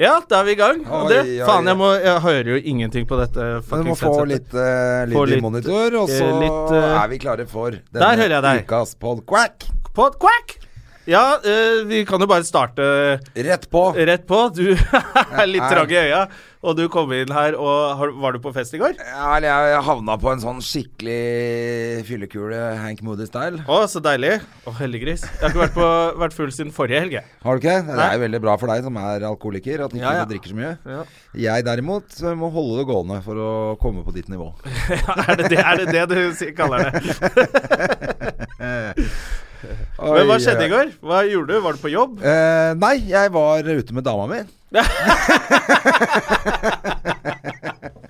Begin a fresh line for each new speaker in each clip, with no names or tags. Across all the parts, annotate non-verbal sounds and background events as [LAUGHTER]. Ja, da er vi i gang. Og det,
Oi, oi,
faen,
oi.
jeg, må, jeg hører jo ingenting på dette.
Men du må
fuckings
få
headsetet.
litt eh, lyd
Få
i
litt,
monitor, og
eh,
så
litt, eh,
er vi klare for denne
Der hører jeg deg.
ukas podquack.
På quack! Ja, eh, vi kan jo bare starte eh,
Rett på.
rett på. Du [LAUGHS] er litt
Jeg er-
trang i øya, og du kom inn her og har, Var du på fest i går?
Ja, eller jeg havna på en sånn skikkelig fyllekule Hank Moody-style.
Å, så deilig. Å, heldiggris. Jeg har ikke vært, på, vært full siden forrige helg, jeg. [LAUGHS]
Har du ikke? Det
Nei.
er jo veldig bra for deg som er alkoholiker, at du ikke
Ja, ja.
drikker så mye.
Ja.
Jeg derimot eh, må holde det gående for å komme på ditt nivå.
Er det det, er det, det du si- kaller det?
Oi,
Men hva skjedde
oi.
i går? Hva gjorde du? Var du på jobb?
Eh, nei, jeg var ute med dama mi.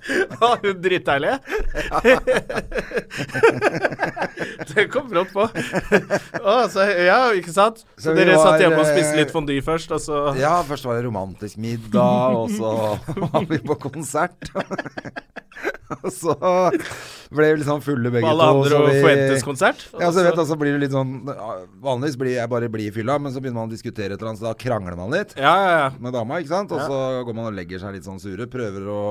Var hun drittdeilig? [LAUGHS] det kom brått på. Å, så, ja, ikke sant? Så,
Så vi
dere
var,
satt hjemme og
eh,
spiste litt fondy først, og så
Ja, først var det romantisk middag, og så var vi på konsert. [LAUGHS] og så ble vi litt sånn fulle begge to.
på alle andre
så
og
vi-
Fuentes konsert?
Ja, så vet du, så blir det litt sånn Vanligvis blir jeg bare blid i fylla, men så begynner man å diskutere et eller annet, så da krangler man litt
ja, ja, ja.
med dama, ikke sant? Og så går man og legger seg litt sånn sure, prøver å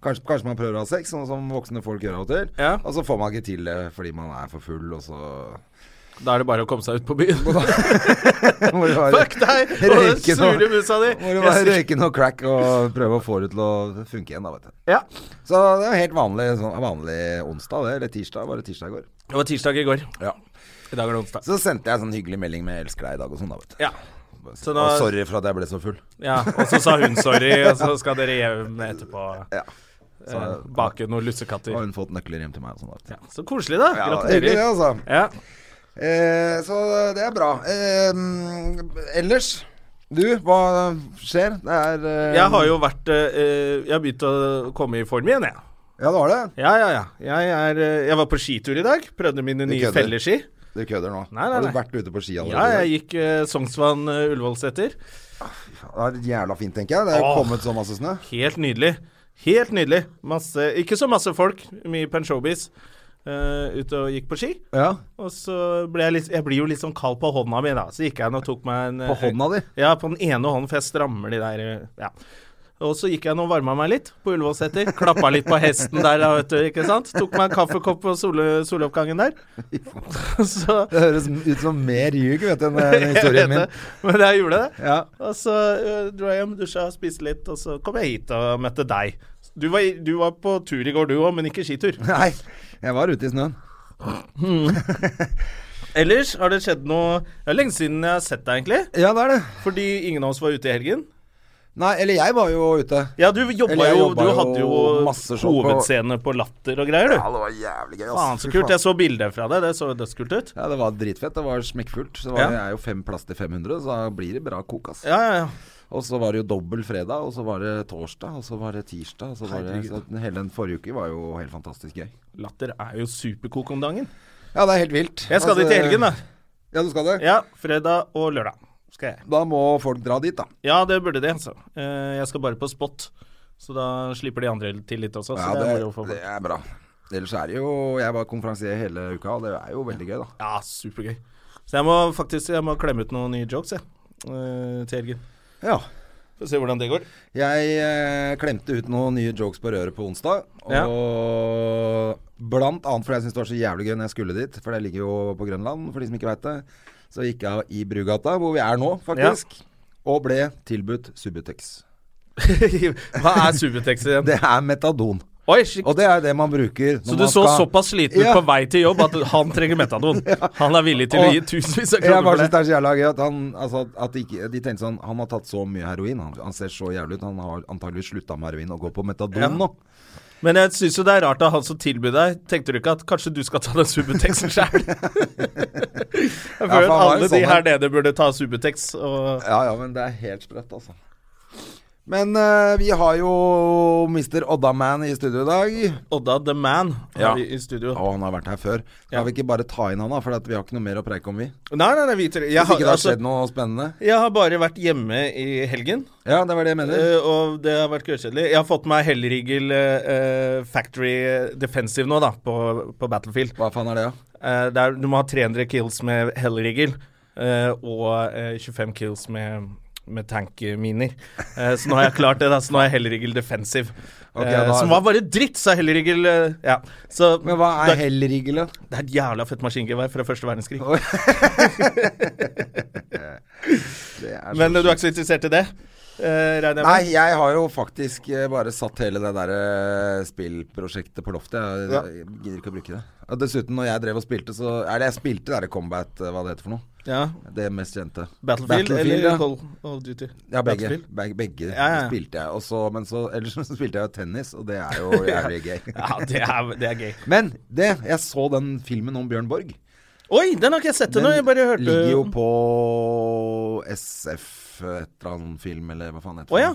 Kanskje, kanskje man prøver å ha sex, sånn som voksne folk gjør av og til.
Ja.
Og så får man ikke til det fordi man er for full, og så
Da er det bare å komme seg ut på byen.
[LAUGHS] Må det være-
Fuck deg og den
Røyke nå.
sure musa di!
Må jo
Jeg
bare
synes-
røyke noe crack og prøve å få det til å funke igjen, da, vet du.
[LAUGHS] Ja.
Så det er helt vanlig, sånn, vanlig onsdag, det. Eller tirsdag. Var det tirsdag i går?
Det var tirsdag i går.
Ja.
I dag er det onsdag.
Så sendte jeg sånn hyggelig melding med 'elsker deg' i dag og sånn, da, vet du.
Ja. Så nå,
Og sorry for at jeg ble så full.
ja, og så sa hun sorry, og så skal dere hjem etterpå.
Ja.
Eh, bake noen lussekatter.
Og hun fått nøkler hjem til meg og sånn, da. vet du.
Ja, så koselig, da.
Ja, hyggelig det,
Gratulerer.
altså.
Ja.
Eh, så det er bra. Eh, mm, ellers du, hva skjer? Det er eh,
Jeg har jo vært eh, eh, Jeg har begynt å komme i form igjen, jeg.
Ja, du har det?
Ja, ja, ja. Jeg, er, eh, jeg var på skitur i dag. Prøvde mine nye
kødder.
felleski.
Du kødder nå?
Nei, nei,
Har du
nei.
vært ute på ski allerede?
Ja, jeg gikk eh, Sognsvann eh, Ullevålseter.
Det er jævla fint, tenker jeg. Det er
Åh.
kommet så masse snø.
Helt nydelig. Helt nydelig. Masse, ikke så masse folk, mye pensjobis, eh, ute og gikk på ski.
Ja.
Og så ble jeg litt Jeg blir jo litt sånn kald på hånda mi, da. Så gikk jeg inn og tok meg en eh,
På hånda di?
Ja, på den ene hånden, for jeg strammer de der eh, Ja. Og så gikk jeg nå og varma meg litt på Ullevålseter. Klappa litt på hesten der, da, vet du. Ikke sant? Tok meg en kaffekopp på sole,
[LAUGHS]
soloppgangen der. [LAUGHS] Så
Det høres ut som mer ljug vet du, enn
[LAUGHS]
eh, historien min.
Men jeg gjorde det.
Ja.
Og så eh, dro jeg hjem, dusja, spiste litt, og så kom jeg hit og møtte deg. Du var, i- du var på tur i går du òg, men ikke skitur.
Nei, jeg var ute i snøen.
[LAUGHS] Ellers har det skjedd noe Det er lenge siden jeg har sett deg, egentlig.
Ja, det er det.
Fordi ingen av oss var ute i helgen.
Nei, eller jeg var jo ute.
Ja, du jobba
Eller jeg
jo
jobba
Du
jo
hadde jo
masse show på-
hovedscene på Latter og greier, du.
det var jævlig gøy. ass.
Faen, så
Fy
kult.
faen.
Jeg så bilder fra deg. Det så dødskult ut.
Ja, det var dritfett. Det var smekkfullt. Så det var,
Ja.
jeg er jo fem plass til 500, så da blir det bra kok, ass.
Ja, ja, ja.
Og så var det jo dobbel fredag, og så var det torsdag, og så var det tirsdag. Og så var det, så hele den forrige uke var jo helt fantastisk gøy.
Latter er jo superkok om dagen.
Ja, det er helt vilt.
Jeg skal
Altså,
dit i helgen, [LAUGHS] da.
Ja, du skal det?
Ja, fredag og lørdag skal jeg.
Da må folk dra dit, da.
Ja, det burde det, altså. Eh, jeg skal bare på spot. Så da slipper de andre til litt også. Så
Ja,
det, er moro
det,
for
det
folk.
er bra. Ellers er det jo Jeg var konferansier hele uka, og det er jo veldig gøy, da.
Ja, supergøy. Så jeg må faktisk jeg må klemme ut noen nye jokes, jeg. eh, til helgen.
Ja.
Får se hvordan det går.
Jeg eh, klemte ut noen nye jokes på røret på onsdag. Og blant annet fordi jeg syntes det var så jævlig gøy når jeg skulle dit, for det ligger jo på Grønland, for de som ikke veit det. Så gikk jeg i Brugata, hvor vi er nå, faktisk, og ble tilbudt Subutex.
[LAUGHS] Hva er subutex igjen?
Det er metadon.
Oi, shit.
Og det er det man bruker når
Så du
man
så
skal-
såpass sliten ut
Ja.
på vei til jobb at han trenger
[LAUGHS]
metadon? Han er villig til å
Og-
gi tusenvis av
Jeg bare
kroner for
synes
det?
det er så jævla gøy at han altså, at- at de, ikke- de tenkte sånn Han har tatt så mye heroin. Han, han ser så jævlig ut. Han har antageligvis slutta med heroin og går på metadon
Ja.
nå.
Men jeg syns jo det er rart at han som tilbyr deg Tenkte du ikke at kanskje du skal ta den Subutexen
[LAUGHS]
sjøl? Jeg føler
for han var
at
jo
alle de
sånn,
her nede burde ta Subutex og
Ja ja, men det er helt sprøtt, altså. Men eh, vi har jo Mr. Oddaman i studio i dag.
Odda the Man har
Ja.
vi i studio.
Og han har vært her før. Skal
Ja.
vi ikke bare ta inn han, da? For at vi har ikke noe mer å preike om, vi.
Nei, nei, nei, vi tre jeg,
Hvis
har-
ikke det har
altså,
skjedd noe spennende.
jeg har bare vært hjemme i helgen,
Ja, det var det jeg mener.
eh, og det har vært gørrkjedelig. Jeg har fått meg Hellrigel eh, eh, Factory Defensive nå, da, på, på Battlefield.
Hva faen er det, da?
Eh, det er- du må ha 300 kills med Hellrigel eh, og eh, 25 kills med med tankminer. Eh, så nå har jeg klart det, da. Så nå er Hellrigel defensive.
Ok,
eh,
da-
som var bare dritt, sa Hellrigel. Eh, ja. Så
Men hva
Da-
er hellrigel, da?
Det er et jævla fett maskingevær fra første verdenskrig. [LAUGHS]
Oi. Det er så
Men eh, du er ikke så interessert i det? Eh, regner jeg med?
Nei, jeg har jo faktisk eh, bare satt hele det der eh, spillprosjektet på loftet. Jeg,
Ja.
jeg gidder ikke å bruke det. Og dessuten, når jeg drev og spilte, så Er det jeg spilte det der Combat, eh, hva det heter for noe?
Ja.
Det mest kjente.
Battlefield, eller
ja.
Call of Duty?
Ja, begge.
Battlefield.
Begge, begge
Ja, ja.
spilte jeg. Og så, men så, ellers så spilte jeg jo tennis, og det
[LAUGHS]
er jo jævlig gøy.
Ja, det er, det er gøy.
Men det, jeg så den filmen om Bjørn Borg.
Oi, den har ikke jeg sett
Den
ennå. Jeg bare eh, hørte
ligger jo på SF et eller annet film, eller hva faen heter
Å ja.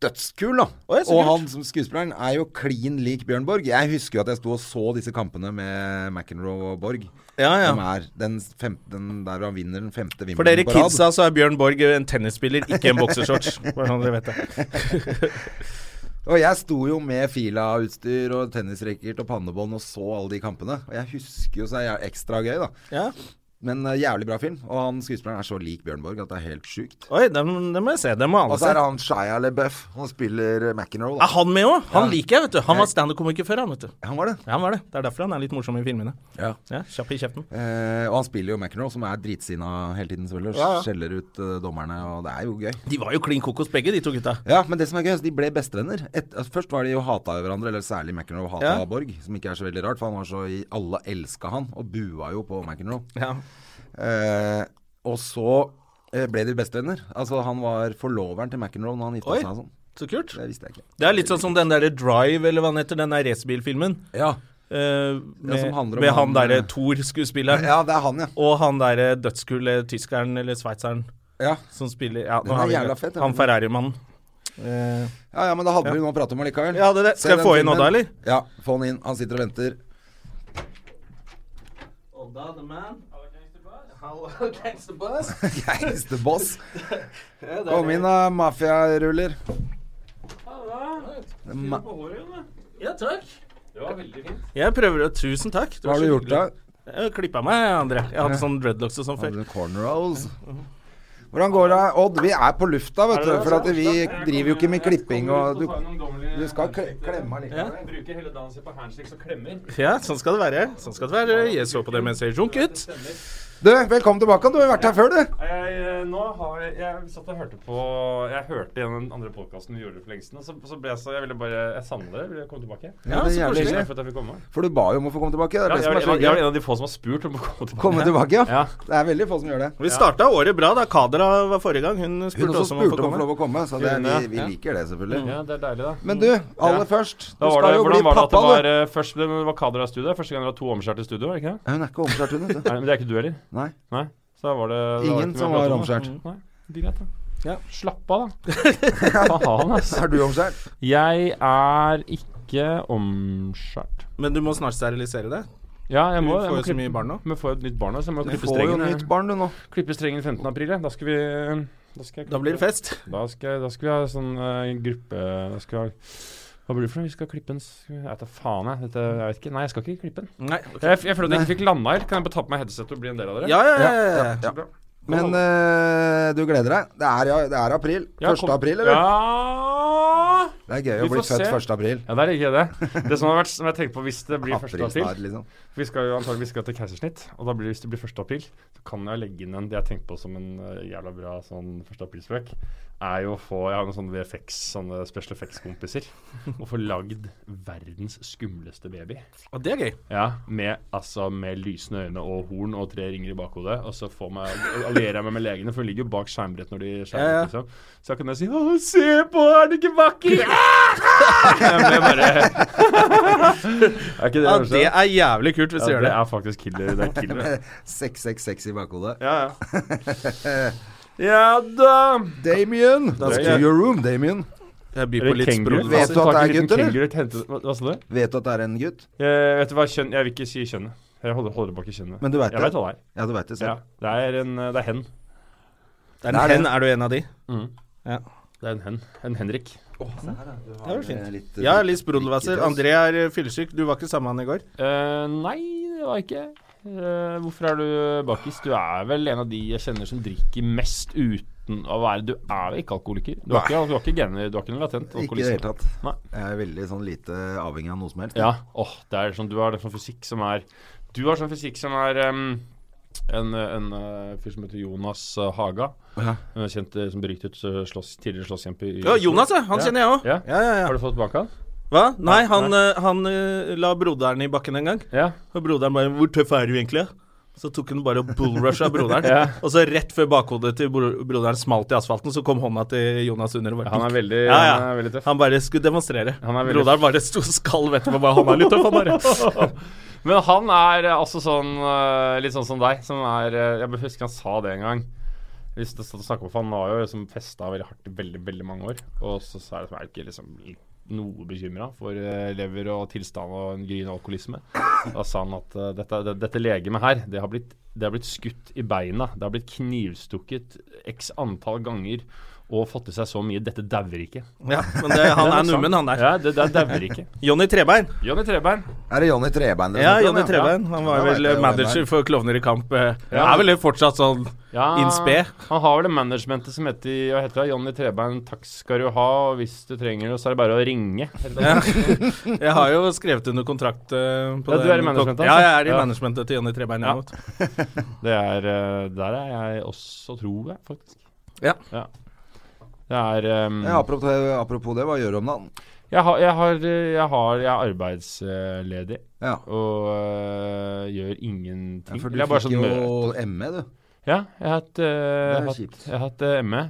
dødskul, da.
Å, ja, så
og
kult.
han som skuespilleren er jo klin lik Bjørn Borg. Jeg husker jo at jeg sto og så disse kampene med McEnroe og Borg.
Ja, ja.
Som er den femte, den der han vinner den femte
For
vimmelen
dere kidsa så er Bjørn Borg en tennisspiller, ikke en
[LAUGHS]
boksershorts. Bare sånn dere vet det.
Og jeg sto jo med Fila-utstyr og tennisracket og pannebånd og så alle de kampene. Og jeg husker jo så er jeg ekstra gøy, da.
Ja.
Men eh, jævlig bra film. Og han skuespilleren er så lik Bjørn Borg at det er helt sjukt.
Oi, den, den må jeg se. Den må
Og
alle
så
se.
er det han Shia LeBeouf. Han spiller eh, McEnroe,
Er
da.
han med òg? Han
Ja.
liker jeg, vet du. Han var standup-komiker før, han, vet du.
Han var det.
Ja, han var det. Det er derfor han er litt morsom i filmene.
Ja.
Ja, Kjapp i kjeften.
Eh, og han spiller jo McEnroe, som er dritsinna hele tiden. selvfølgelig, og Skjeller ut eh, dommerne, og det er jo gøy.
De var jo klin kokos, begge de to gutta.
Ja, Men det som er gøy, er at de ble bestevenner. Et, altså, først var de jo hata av hverandre, eller særlig McEnroe hata
Ja.
Borg. Som ikke er så veldig rart, for han var så i, alle elska han, og bua jo på McEnroe.
Ja.
Eh, og så eh, ble de bestevenner. Altså, han var forloveren til McEnroe når han gifta
Oi.
seg og sånn.
Så kult.
Det visste jeg ikke.
Det er litt sånn som den derre Drive, eller hva den heter, den der racerbilfilmen.
Ja.
Eh, med,
som handler om
med han
han,
derre
eh,
Thor-skuespilleren.
ja, det er han, ja.
Og han derre dødskule tyskeren eller sveitseren
Ja,
som spiller ja, nå
er
har vi
jævla
det.
fett, den.
Han Ferrari-mannen.
ja, ja men da hadde vi noe å prate om allikevel.
Ja, det er det.
Se
Skal jeg
den
få inn
filmen.
Odda, eller?
Ja, få han inn. Han sitter og venter.
Odda, the man. [LAUGHS] Hello, gangster boss.
[LAUGHS] Gangster
[LAUGHS]
boss. Kom inn da, mafiaruller. Ma-
Ja, takk. Det var veldig fint. Jeg prøver å Tusen takk.
Hva har du gjort da?
Jeg klippa meg, André. Jeg hadde sånn dreadlocks og sånn
Hadde
før.
du Cornrows. Hvordan går det? Odd, vi er på lufta, vet du. For at vi driver jo ikke med klipping og Du, du skal kle- klemme likevel.
Bruker hele dagen sin på handslicks og klemmer.
Ja, sånn skal det være. Sånn skal det være. Jeg så på det mens jeg junk ut.
Du, velkommen tilbake. Du har jo vært her før, du.
Jeg, eh, nå har, jeg- jeg satt og hørte på Jeg hørte igjen den andre podkasten vi gjorde for lengst. Og så, så ble jeg så Jeg ville bare Jeg savner dere. Vil dere komme tilbake?
Ja, det er
Tusen
jævlig
takk
hyggelig.
for at jeg fikk komme.
For du ba jo om å få komme tilbake. Det
Ja,
er det
jeg,
som
var-
er
jeg, var-
så
jeg var
gøy.
en av de få som har spurt om å komme tilbake.
Komme tilbake, ja.
Ja.
Det er veldig få som gjør det.
Vi starta året bra da. Kadra var forrige gang. Hun
Hun
spurte
også
også om å
spurte om
få
å få
komme.
lov å komme, så det, vi, vi
Ja.
liker det selvfølgelig.
Ja, det er deilig, da.
Men du, aller
Ja.
først. Du
da var
skal
det,
jo bli
hvordan var det at det
pappa,
var
du.
eh, først ble- det var Kadra i studio? Første gang dere har to omskjærte i studio, var det ikke det?
Hun er ikke omskjært, hun. vet du.
Nei, men det er ikke du heller?
Nei.
Nei. Så da var det da var det
Ingen
ikke
som
mer å
var
prate om, da.
omskjært.
Nei, det er greit, da.
Ja.
Slapp av,
[LAUGHS]
da. Faen, altså. ass.
Er du omskjært?
Jeg er ikke omskjært.
Men du må snart sterilisere deg.
Ja, jeg må,
Du
jeg
får
må
jo så mye barn nå.
Men får jo et nytt barn nå, så jeg må
Du
klippe
får jo
strengen.
nytt barn, du nå.
Klippe strengen 15. april, jeg. Da skal vi Da, skal jeg
Da blir det fest.
Da skal, jeg- da skal vi ha sånn eh, gruppe Da skal vi ha Hva blir det for noe? Vi skal klippe en s- Jeg vet da faen, jeg. Dette, jeg vet ikke. Nei, jeg skal ikke klippe den.
Nei. ok.
Jeg, jeg føler at jeg ikke fikk landa helt. Kan jeg bare ta på meg headsetet og bli en del av dere?
Ja, ja, ja. ja, ja.
Ja. Men eh, du gleder deg? Det er, ja, det er april. 1.
kom-
april, eller?
Ja
Det er gøy
Vi
å bli
får
født
se.
1. april.
Ja, det er ikke det. Det som har vært, som jeg tenker på hvis det blir 1.
April
april
snart, liksom.
Vi skal jo antagelig skal til keisersnitt, og da blir, hvis det blir 1. april, så kan jeg legge inn en det jeg tenkte på som en eh, jævla bra sånn 1. april-spøk, er jo å få Jeg har noen sånne VFX, sånne special effects-kompiser, og få lagd verdens skumleste baby.
Og det er gøy.
Ja, med, altså, med lysende øyne og horn og tre ringer i bakhodet, og så får meg, allierer jeg meg med legene, for de ligger jo bak skjermbrett når de skjermer,
Ja, ja.
liksom. Så da kan jeg si 'Å, se på, er den ikke
[LAUGHS]
vakker?' jeg blir bare [LAUGHS] Er ikke det
Ja,
kanskje?
det er jævlig kult hvis du
Ja,
gjør
det
det.
[LAUGHS] er faktisk killer. Det er killer.
666 i bakhodet.
Ja, ja. Ja da!
Damien!
Da skal
To
jeg-
your room, Damien.
Jeg byr på
Eller
litt
kenguru.
sprudel.
Vet
Altså,
du at
tak i
det er
en liten
gutt, eller?
kenguru, hente- Hva, hva sa du?
Vet du at det er en gutt?
Eh, vet du hva kjønn Jeg vil ikke si kjønnet. Jeg holder, holder bak i kjønnet.
Men du vet
jeg
det.
vet hva det er.
Ja, du veit det
Ja,
selv.
det er en eh, Det er hen.
Det er en hen, er du en av de?
Det er en hen. En Henrik.
Det var fint.
Eh, litt,
Ja,
eh,
litt sprudelvasser.
drikkete, ass.
André er eh, fyllesyk. Du var ikke sammen med han i går.
Eh, nei, det var jeg ikke. Eh, hvorfor er du bakis? Du er vel en av de jeg kjenner som drikker mest uten å være Du er vel ikke alkoholiker? Du har ikke, du har ikke gener, du har ikke noe latent
Ikke i det hele
alkoholisme?
tatt.
Nei.
Jeg er veldig sånn lite avhengig av noe som helst.
Ja. Åh, det er sånn Du har en sånn fysikk som er Du har sånn fysikk som er em, en, en eh, fyr som heter Jonas eh, Haga.
Ja.
eh, Kjent eh, som beryktet eh, slåss, tidligere slåsskjempe i
Ja, Jonas, ja. Han
Ja.
kjenner jeg òg.
Ja.
Ja, ja, ja.
Har du fått banka han?
Hva? Nei, han, eh, han eh, la broderen i bakken en gang.
Ja.
Og broderen bare 'Hvor tøff er du egentlig?' Så tok hun bare og bullrusha [LAUGHS] broderen.
Ja.
Og så rett før bakhodet til bro broderen smalt i asfalten, så kom hånda til Jonas under. og bare-
Han er veldig,
Ja, ja.
Han er veldig tøff.
Han bare skulle demonstrere.
Han er veldig-
Broderen bare sto og skalv etterpå. Bare, han er litt tøff, han der.
[LAUGHS] Men han er eh, altså sånn eh, litt sånn som deg, som er eh, Jeg bare husker han sa det en gang. Hvis det stod å snakke om, for Han var jo liksom festa veldig hardt i veldig, veldig mange år. Og så sa jeg liksom, er jeg ikke liksom noe bekymra for eh, lever og tilstand og en gryende alkoholisme. Da sa han at eh, dette, det, dette legemet her, det har, blitt, det har blitt skutt i beina. Det har blitt knivstukket x antall ganger og fått i seg så mye. Dette dauer ikke. [LAUGHS]
Ja, men det, han er
nok sant.
nummen, han der.
Ja, det det dauer
[LAUGHS]
ikke.
Jonny Trebein.
Johnny Trebein.
Er det Johnny Trebein dere
Ja,
snakker om,
Jonny Trebein. Han var
Da vet
vel
jeg
eh,
hvem det
manager
er.
for Klovner i kamp. eh.
Ja.
Er vel fortsatt
[LAUGHS]
sånn
Ja,
In spe.
Han har vel det managementet som heter, hva heter det, Jonny Trebein, takk skal du ha, og hvis du trenger det, så er det bare å ringe.
ja. Jeg har jo skrevet under kontrakt eh, på
Ja,
det.
du er i managementet hans,
Ja, jeg er i
ja.
managementet til Jonny Trebein.
Ja.
Ja.
Det er, eh, der er jeg også, tror jeg, faktisk.
Ja.
Det er ehm,
Ja, apropos, apropos det, hva gjør du om dagen?
jeg, har, jeg, har, eh, jeg, har, jeg er arbeidsledig
Ja.
og eh, gjør ingenting.
Ja, for du
Eller jeg er bare
fikk
sånn
jo
mø-
ME, du.
[LAUGHS] Ja, jeg har hatt, eh, jeg har hatt,
kjipt.
jeg har hatt eh, ME.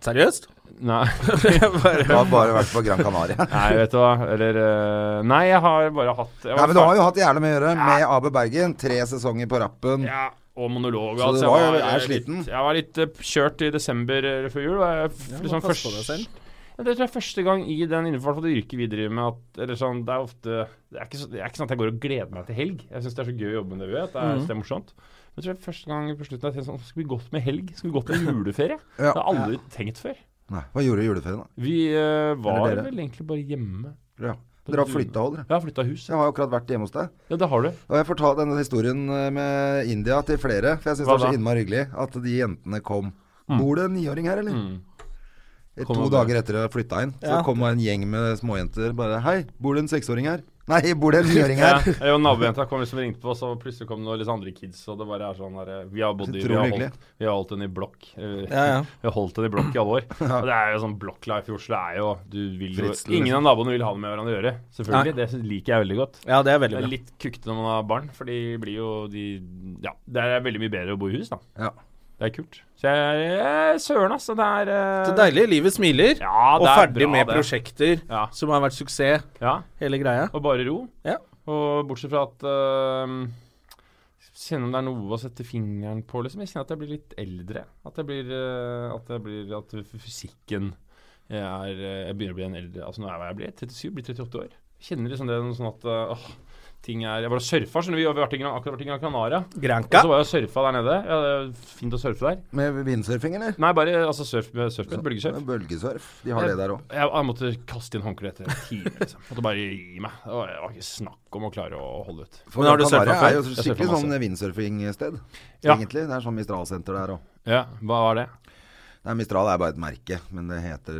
Seriøst?
Nei. [LAUGHS]
Du har bare vært på Gran Canaria.
nei, vet du hva. Eller eh, Nei, jeg har bare hatt jeg
Nei,
var
men du har jo hatt jævlig mye å gjøre med AB Bergen. Tre sesonger på rappen.
Ja, og monolog.
Så
altså,
du var jo-
eh,
er sliten?
Litt, jeg var litt eh, kjørt i desember eh, før jul. Og jeg, f- liksom
pass på deg
først-
selv.
Ja, det tror jeg er første gang i den innenfor hvert fall det yrket vi driver med, at eller sånn, det er ofte det er, ikke så, det er ikke sånn at jeg går og gleder meg til helg. Jeg syns det er så gøy å jobbe med det vi gjør, at det
Mhm.
er, det er morsomt. Men jeg tror jeg første gang på slutten jeg tenkte sånn Skal vi gått med helg? Skal vi
[LAUGHS]
gått med juleferie?
Ja.
Det har jeg aldri tenkt før.
Nei, hva gjorde du i juleferien, da?
Vi eh, var
Eller dere?
vel egentlig bare hjemme.
Ja. Dere har flytta òg, dere.
Jeg har flytta hus.
Jeg har jo akkurat vært hjemme hos deg.
Ja, det har du.
Og jeg fortalte denne historien eh, med India til flere, for jeg syns det
Hva
var så
da? Mm.
innmari hyggelig at de jentene kom. Bor det en niåring her, eller? Et,
Kom
to
og-
dager etter jeg flytta inn, så
Ja.
kom det en gjeng med småjenter bare Hei, bor det en seksåring her? Nei, bor
[LAUGHS]
det en niåring
Ja,
her?
jeg og nabojenta kom liksom og ringte på, så plutselig kom det litt andre kids. Og det bare er sånn der, Vi har bodd i vi har,
Utrolig hyggelig.
holdt, vi har holdt den i blokk. eh,
Ja, ja.
[LAUGHS] Vi har holdt den i blokk i
[LAUGHS]
alle år. Og det er jo sånn blokklife i Oslo er jo, du vil jo
Fritzel,
Ingen
liksom.
av naboene vil ha det med hverandre å gjøre. Selvfølgelig. Det synes- liker jeg veldig godt.
Ja, det er veldig
Det er
bra.
litt kukkete når man har barn, for de blir jo de Ja, det er veldig mye bedre å bo i hus, da.
Ja.
Det er kult. Så jeg eh, Søren, altså. Det er eh,
Så deilig. Livet smiler.
Ja, det
og
er
ferdig
bra,
med
det.
prosjekter
Ja.
som har vært suksess,
Ja.
hele greia.
Og bare ro.
Ja.
Og bortsett fra at øhm, Kjenner om det er noe å sette fingeren på, liksom. Jeg kjenner at jeg blir litt eldre. At jeg blir øh, At, jeg blir, at f- fysikken jeg, er, øh, jeg begynner å bli en eldre Altså, nå er jeg hva jeg blir. 37, blir 38 år. Kjenner liksom det er noe sånn at øh, åh, ting er Jeg var og surfa, skjønner du. Vi har vært i, Gran- akkurat vært i Gran Canaria. Og
Granca.
så var jeg og surfa der nede. Ja, det er fint å surfe der.
Med vindsurfing, eller?
Nei, bare altså surf, surfbrett. Bølgesurf.
Bølgesurf. De har det der òg.
Jeg, jeg måtte kaste inn håndkleet etter en time. Liksom. Måtte bare gi meg. Det var, det var ikke snakk om å klare å holde ut.
For
Men har du
Gran Canaria
surfa før?
er jo
Jeg surfa
skikkelig sånn
masse.
vindsurfingsted,
Ja.
egentlig. Det er sånn Mistral-senter der òg.
Ja, hva var det?
Nei, Mistral er bare et merke, men det heter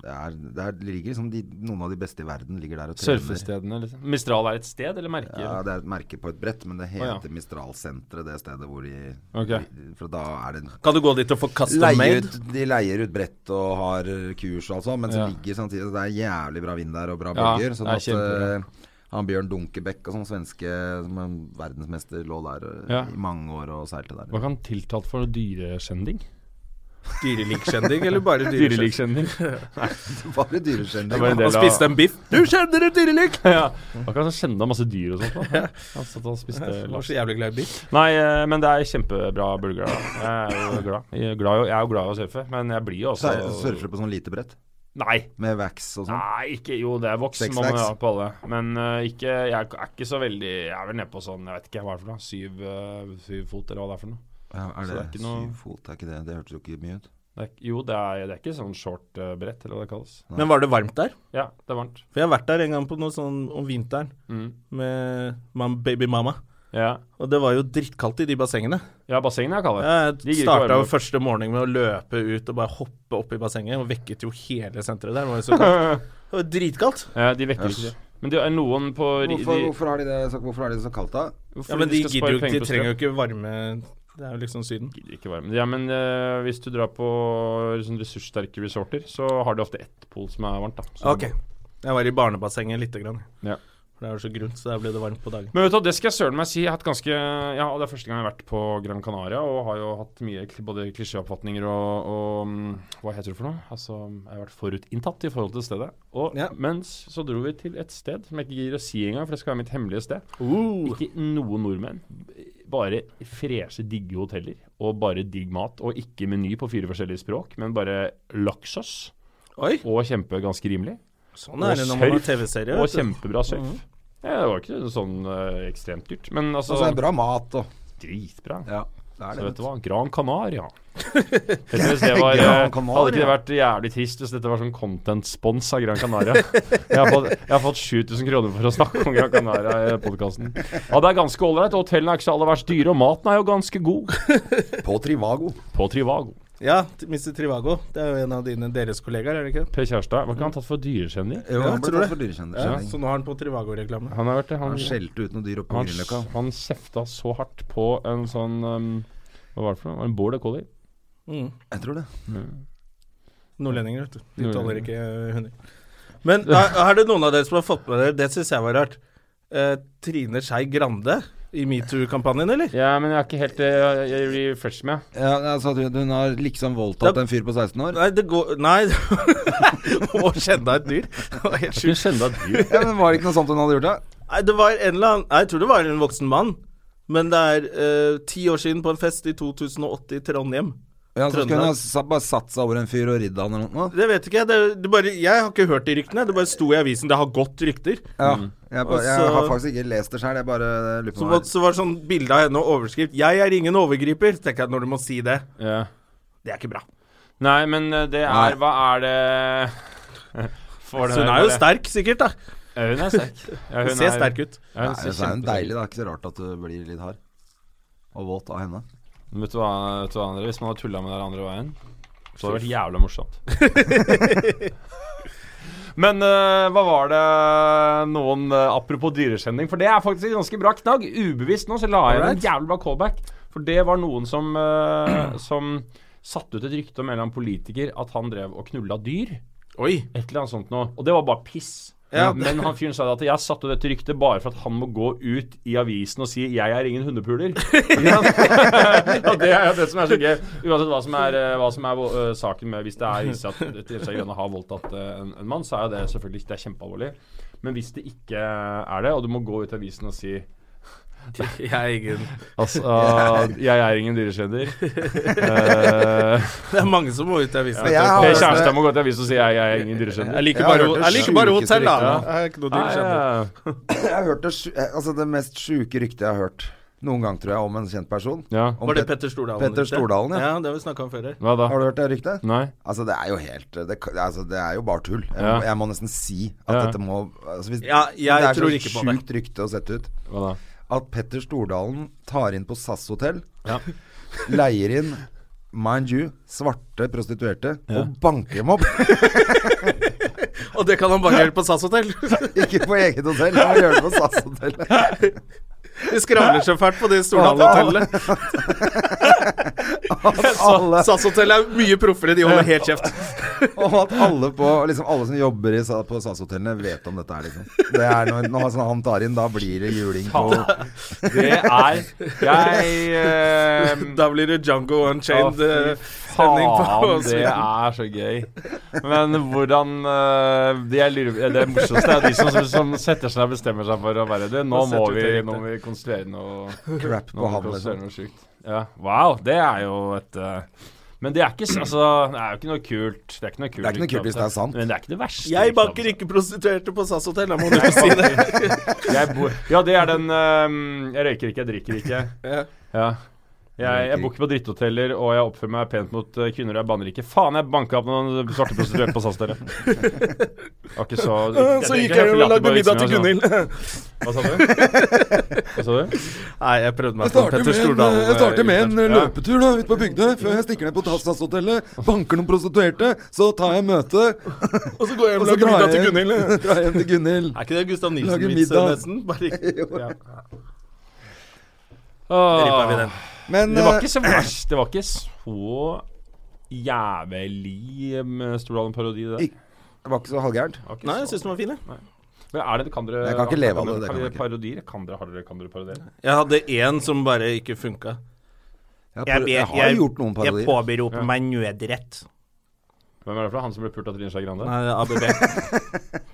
Det, er, det er, det ligger liksom de, Noen av de beste i verden ligger der og
Surfestedene, liksom. Mistral er et sted, eller merke?
Ja, det er et merke på et brett, men det heter
Å, ja.
Mistral-senteret, det stedet hvor de
Ok.
For da er det
Kan du gå dit og få custom
leier
made?
ut, De leier ut brett og har kurs og alt sånt, men så
Ja.
ligger samtidig Det er jævlig bra vind der og bra
Ja,
bølger. sånn
det er
at
kjempebra.
eh, han Bjørn Dunkebekk og sånn svenske som er verdensmester lå der eh,
Ja.
[LAUGHS] i mange år og seilte der.
Var ikke han tiltalt for noe dyrekjending?
Dyreliggskjending,
[LAUGHS]
eller bare dyreliggskjending?
Dyreliggskjending.
Bare dyreskjending.
Det var en del
Han
av-
spiste en biff. Du kjenner et dyreligg!
ja. Akkurat som kjente han masse dyr og sånt. Da. Han satt og spiste
Jeg var
laks.
så jævlig glad i biff.
Nei, eh, men det er kjempebra burgere. da. Jeg er jo glad. Jeg er, glad i, jeg er jo glad i å surfe, men jeg blir jo også
Surfer du på sånn lite brett?
Nei.
Med wax og sånn?
Nei, ikke Jo, det er voks
Seks
man må
snacks.
ha på alle. Men eh, ikke, jeg er ikke så veldig Jeg er vel nede på sånn, jeg vet ikke hva det er for noe. Syv, eh, syv fot, eller hva det er for noe.
Ja, er
Så
det,
det er ikke noe-
syv fot? Er ikke det Det hørtes jo ikke mye ut.
Det er, jo, det er, det er ikke sånn short eh, brett, eller hva det kalles.
Men var det varmt der?
Ja, det er varmt.
For jeg har vært der en gang på noe sånn om vinteren
Mm.
med mam, baby mama.
Ja.
Og det var jo drittkaldt i de bassengene.
ja, bassengene er kalde. [LAUGHS]
Jeg
gir ikke
starta
varme
jo
opp.
første morgen med å løpe ut og bare hoppe opp i bassenget, og vekket jo hele senteret der. Det var jo så kaldt. Det var dritkaldt.
Ja, de vekker ikke. Men det er noen på ri-
Hvorfor,
de-
hvorfor, har de det, så- hvorfor er det så kaldt da?
hvorfor
Ja, men de
skal spare
gidder jo ikke,
penger
de
på
trenger
strøm?
jo ikke varme Det er jo liksom Syden.
Gidder ikke varme. Ja, men eh, hvis du drar på sånn ressurssterke resorter, så har de ofte ett pol som er varmt, da. Så-
Ok. Jeg var i barnebassenget lite grann.
Ja.
For det er jo så grunt, så der ble det varmt på dagen.
Men vet du, hva, det skal jeg søren meg si. Jeg har hatt ganske Ja, og det er første gang jeg har vært på Gran Canaria, og har jo hatt mye kli- både klisjéoppfatninger og, og mm, Hva heter det for noe? Altså, jeg har vært forutinntatt i forhold til stedet. Og
Ja.
mens så dro vi til et sted som jeg ikke gidder å si engang, for det skal være mitt hemmelige sted.
Uh.
Ikke noen nordmenn. Bare freshe, digge hoteller. Og bare digg mat. Og ikke meny på fire forskjellige språk, men bare laksos.
Oi!
Og kjempe ganske rimelig.
Sånn er
Og
det når man har
surf,
TV-serie.
Og
vet du. Mm.
kjempebra surf. Ja, det var ikke sånn eh, ekstremt dyrt, men altså
Og så er det bra mat og
Dritbra.
Ja, det er
Så vet du
det.
hva, Gran
[LAUGHS]
Canaria. Vet du, hvis det var, eh,
Gran Canaria.
hadde ikke det vært jævlig trist hvis dette var sånn content-spons av Gran Canaria? Jeg har fått, jeg har fått 7000 kroner for å snakke om Gran Canaria i podkasten. Ja, det er ganske ålreit. og Hotellene er ikke så aller verst dyre, og maten er jo ganske god.
På Trivago.
På Trivago.
Ja, Mr. Trivago. Det er jo en av dine deres kollegaer, er det ikke? det?
Per Kjærstad, var ikke han tatt for dyrekjenning?
Jo, han ble
tror
tatt
det.
for dyrekjendis.
Ja, så nå har han på Trivago-reklame.
Han har vært det. Han,
Han skjelte ut noen dyr oppe på
han,
Grünerløkka.
han kjefta så hardt på en sånn um, Hva var det for noe? Var det En border collie?
Mm.
Jeg tror det.
Nordlendinger, vet du. De tåler
Nordlendinger.
ikke eh, hunder. Men er, er det noen av dere som har fått med dere Det syns jeg var rart. Eh, Trine Skei Grande i metoo-kampanjen, eller?
Ja, men jeg er ikke helt eh, Jeg, jeg refresher meg.
Ja, altså, hun, hun har liksom voldtatt
Da-
en fyr på 16 år.
Nei, det går Nei! [LAUGHS] Å kjenne et dyr. Det var helt
Skulle
sjukt.
kjenne at du
Ja, men Var det ikke noe sånt hun hadde gjort, da?
Nei, det var en eller annen Nei, Jeg tror det var en voksen mann. Men det er eh, ti år siden, på en fest i 2008 i Trondheim.
Ja, så skulle hun
Trøndelag.
ha sa- bare satt seg over en fyr og ridd han eller noe?
Det vet ikke jeg. Det, det bare, jeg har ikke hørt de ryktene. Det bare sto i avisen. Det har gått rykter.
Ja. Jeg, ba,
Og
jeg
så-
har faktisk ikke lest det sjøl, jeg bare lurer
Så
på
var,
meg.
så var det sånn bilde av henne og overskrift 'Jeg er ingen overgriper'. Så tenker jeg at når du må si det
Ja.
Det er ikke bra.
Nei, men eh, det
Nei.
er Hva er det [LAUGHS] For
Så
den
hun
her-
er jo sterk, sikkert. da
Ja, hun er sterk. Ja,
Hun ser sterk ut.
Ja, hun
Nei,
ser
så er hun
kjempe-
deilig, da. Ikke så rart at du blir litt hard. Og våt av henne.
Men Vet du hva, vet du hva André? Hvis man hadde tulla med det her andre veien, så hadde det vært jævla morsomt. [LAUGHS] Men eh, hva var det noen eh, Apropos dyrekjenning, for det er faktisk en ganske bra knagg. Ubevisst nå så la jeg inn en
Alright.
jævlig bra callback. For det var noen som, eh, [CLEARS THROAT] som satte ut et rykte om en eller annen politiker at han drev og knulla dyr.
Oi.
Et eller annet sånt noe. Og det var bare piss.
Ja.
Men han fyren sa det at jeg satte dette ryktet bare for at han må gå ut i avisen og si 'jeg er ingen hundepuler'. Ikke sant? [LAUGHS] og det er jo det som er så gøy. Uansett hva som er, eh, hva som er vo- eh, saken med Hvis det er viser at Teresa Grønne har voldtatt eh, en, en mann, så er jo det selvfølgelig det er kjempealvorlig. Men hvis det ikke er det, og du må gå ut i avisen og si
Jeg er [LAUGHS] ingen
Altså, [LAUGHS] jeg er ingen dyrekjenner. Eh,
Det er mange som må ut i avisen.
Men jeg har-
Per Kjærstad må gå ut i avisen og si 'jeg, jeg er ingen dyrekjenner'.
Jeg liker
Jeg har
bare,
hørt det
jeg liker bare
sjukeste
hotell, da.
ryktet,
Jeg er ikke noe dyr,
Nei,
skjønner du.
ja.
Jeg har hørt det, sju- eh, altså det mest sjuke ryktet jeg har hørt noen gang, tror jeg, om en kjent person.
ja.
Om
Var det
Pet-
Petter Stordalen?
Petter
ikke?
Stordalen, ja.
Ja, det har vi snakka om før her.
Hva da?
Har du hørt det ryktet?
Nei?
Altså, det er jo helt Det, k- altså, det er jo bare tull. Jeg,
Ja.
må- jeg må nesten si at
Ja.
dette må altså, hvis,
Ja,
Det
jeg
er
tror
så
ikke på det.
sjukt rykte å sette ut.
Hva da?
At Petter Stordalen tar inn på SAS hotell,
Ja.
[LAUGHS] leier inn Mind you, svarte prostituerte, og banker dem opp! [LAUGHS]
Og det kan han bare gjøre på SAS [LAUGHS] hotell.
Ikke på eget hotell, han gjør
[LAUGHS]
det på SAS hotellet.
De skravler så fælt på det Stordalen-hotellet.
Alle,
SAS-hotellet er mye proffere, de holder helt kjeft.
og at alle, på, liksom alle som jobber i, sa- på SAS-hotellene, vet om dette her, liksom. Det er når, når sånn han tar inn, da blir det juling på
Det er Jeg eh,
[LAUGHS] Da blir det Django Unchained
Ja, fy
eh, stemning på
Faen, det er så gøy. Men hvordan eh, de jeg lurer, Det morsomste er de som, som setter seg og bestemmer seg for å være det. Nå
Nå
må
setter vi
vi,
til riktig.
nå må vi konstruere noe
Crap på
Nå må
ham,
vi
liksom.
konstruere noe sjukt. Ja. Wow, det er jo et eh, Men det er ikke s- Altså, det er jo ikke noe kult. Det er ikke noe kult,
Det er ikke noe kult hvis det er sant.
Men det er ikke det verste. liksom.
Jeg
reklame.
banker ikke prostituerte på SAS Hotel, da må du ikke si det.
Jeg bor Ja, det er den ehm, Jeg røyker ikke, jeg drikker ikke.
Ja.
Ja. Jeg, jeg bor ikke på dritthoteller, og jeg oppfører meg pent mot eh, kvinner, og jeg banner ikke. Faen, jeg banka opp noen svarte prostituerte på SAS, dere. Var ikke
[LAUGHS]
så
Så gikk jeg og lagde middag til Gunhild.
Hva sa du? Hva sa du?
[LAUGHS] Nei, jeg prøvde meg på en Petter Stordalen.
jeg starter med en
eh,
eh, løpetur da, ut på bygda før jeg stikker ned på Tassashotellet. Banker noen prostituerte, så tar jeg møte,
Og så går jeg
og
hjem eh. og
så
lager
drar
middag til
jeg
[LAUGHS] Gunhild.
[LAUGHS] drar jeg hjem til Gunhild.
Er ikke det Gustav
Lager
Nilsen-vits
middag.
nesten?
[LAUGHS]
Bare ikke ripper vi
Åh,
den.
Men
det var
eh,
ikke så verst. Det var ikke så jævlig eh, Stordalen-parodi, det der.
Ikke- det var ikke så halvgærent.
Det var ikke
Nei,
så-
jeg syns den var fin, jeg.
Men er det, kan dere,
Jeg kan ikke leve av det, det
Kan
kan
dere
jeg ikke.
parodier? Kan dere, har dere, kan dere parodiere?
Jeg hadde én som bare ikke funka.
Jeg, har- jeg har gjort noen
Jeg
parodier.
påberoper
Ja.
meg nødrett.
Hvem er det fra? Han som ble pult av Trine Skei Grande?
Nei, [LAUGHS] ABB.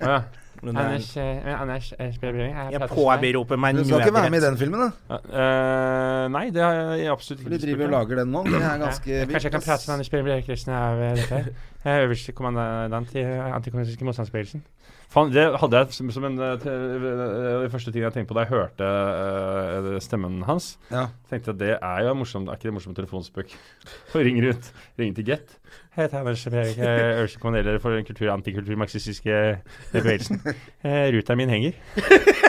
Ja.
Men det er-
Anders eh,
Jeg påberoper meg
Du skal ikke være med i
nødrett.
den filmen, da.
eh, nei, det har jeg absolutt
For de driver og lager den nå. Det er ganske vilt. ass.
Anders Bjørn Bjerkristen av eh, dette. Jeg er øverste kommandant i eh, antikommunistiske motstandsbevegelsen. Faen, det hadde jeg som, som en eh, te- eh, eh, første ting jeg tenkte på da jeg hørte eh, stemmen hans.
Ja.
Tenkte jeg, det er jo en morsom, er ikke det en morsom telefonspøk? [LAUGHS] Og ringer ut, ringer til Get. Hei, jeg heter Anders Bjerk, jeg er øverste kommanderer for den kultur- antikulturmarxistiske bevegelsen. Eh, Ruteren min henger. [LAUGHS]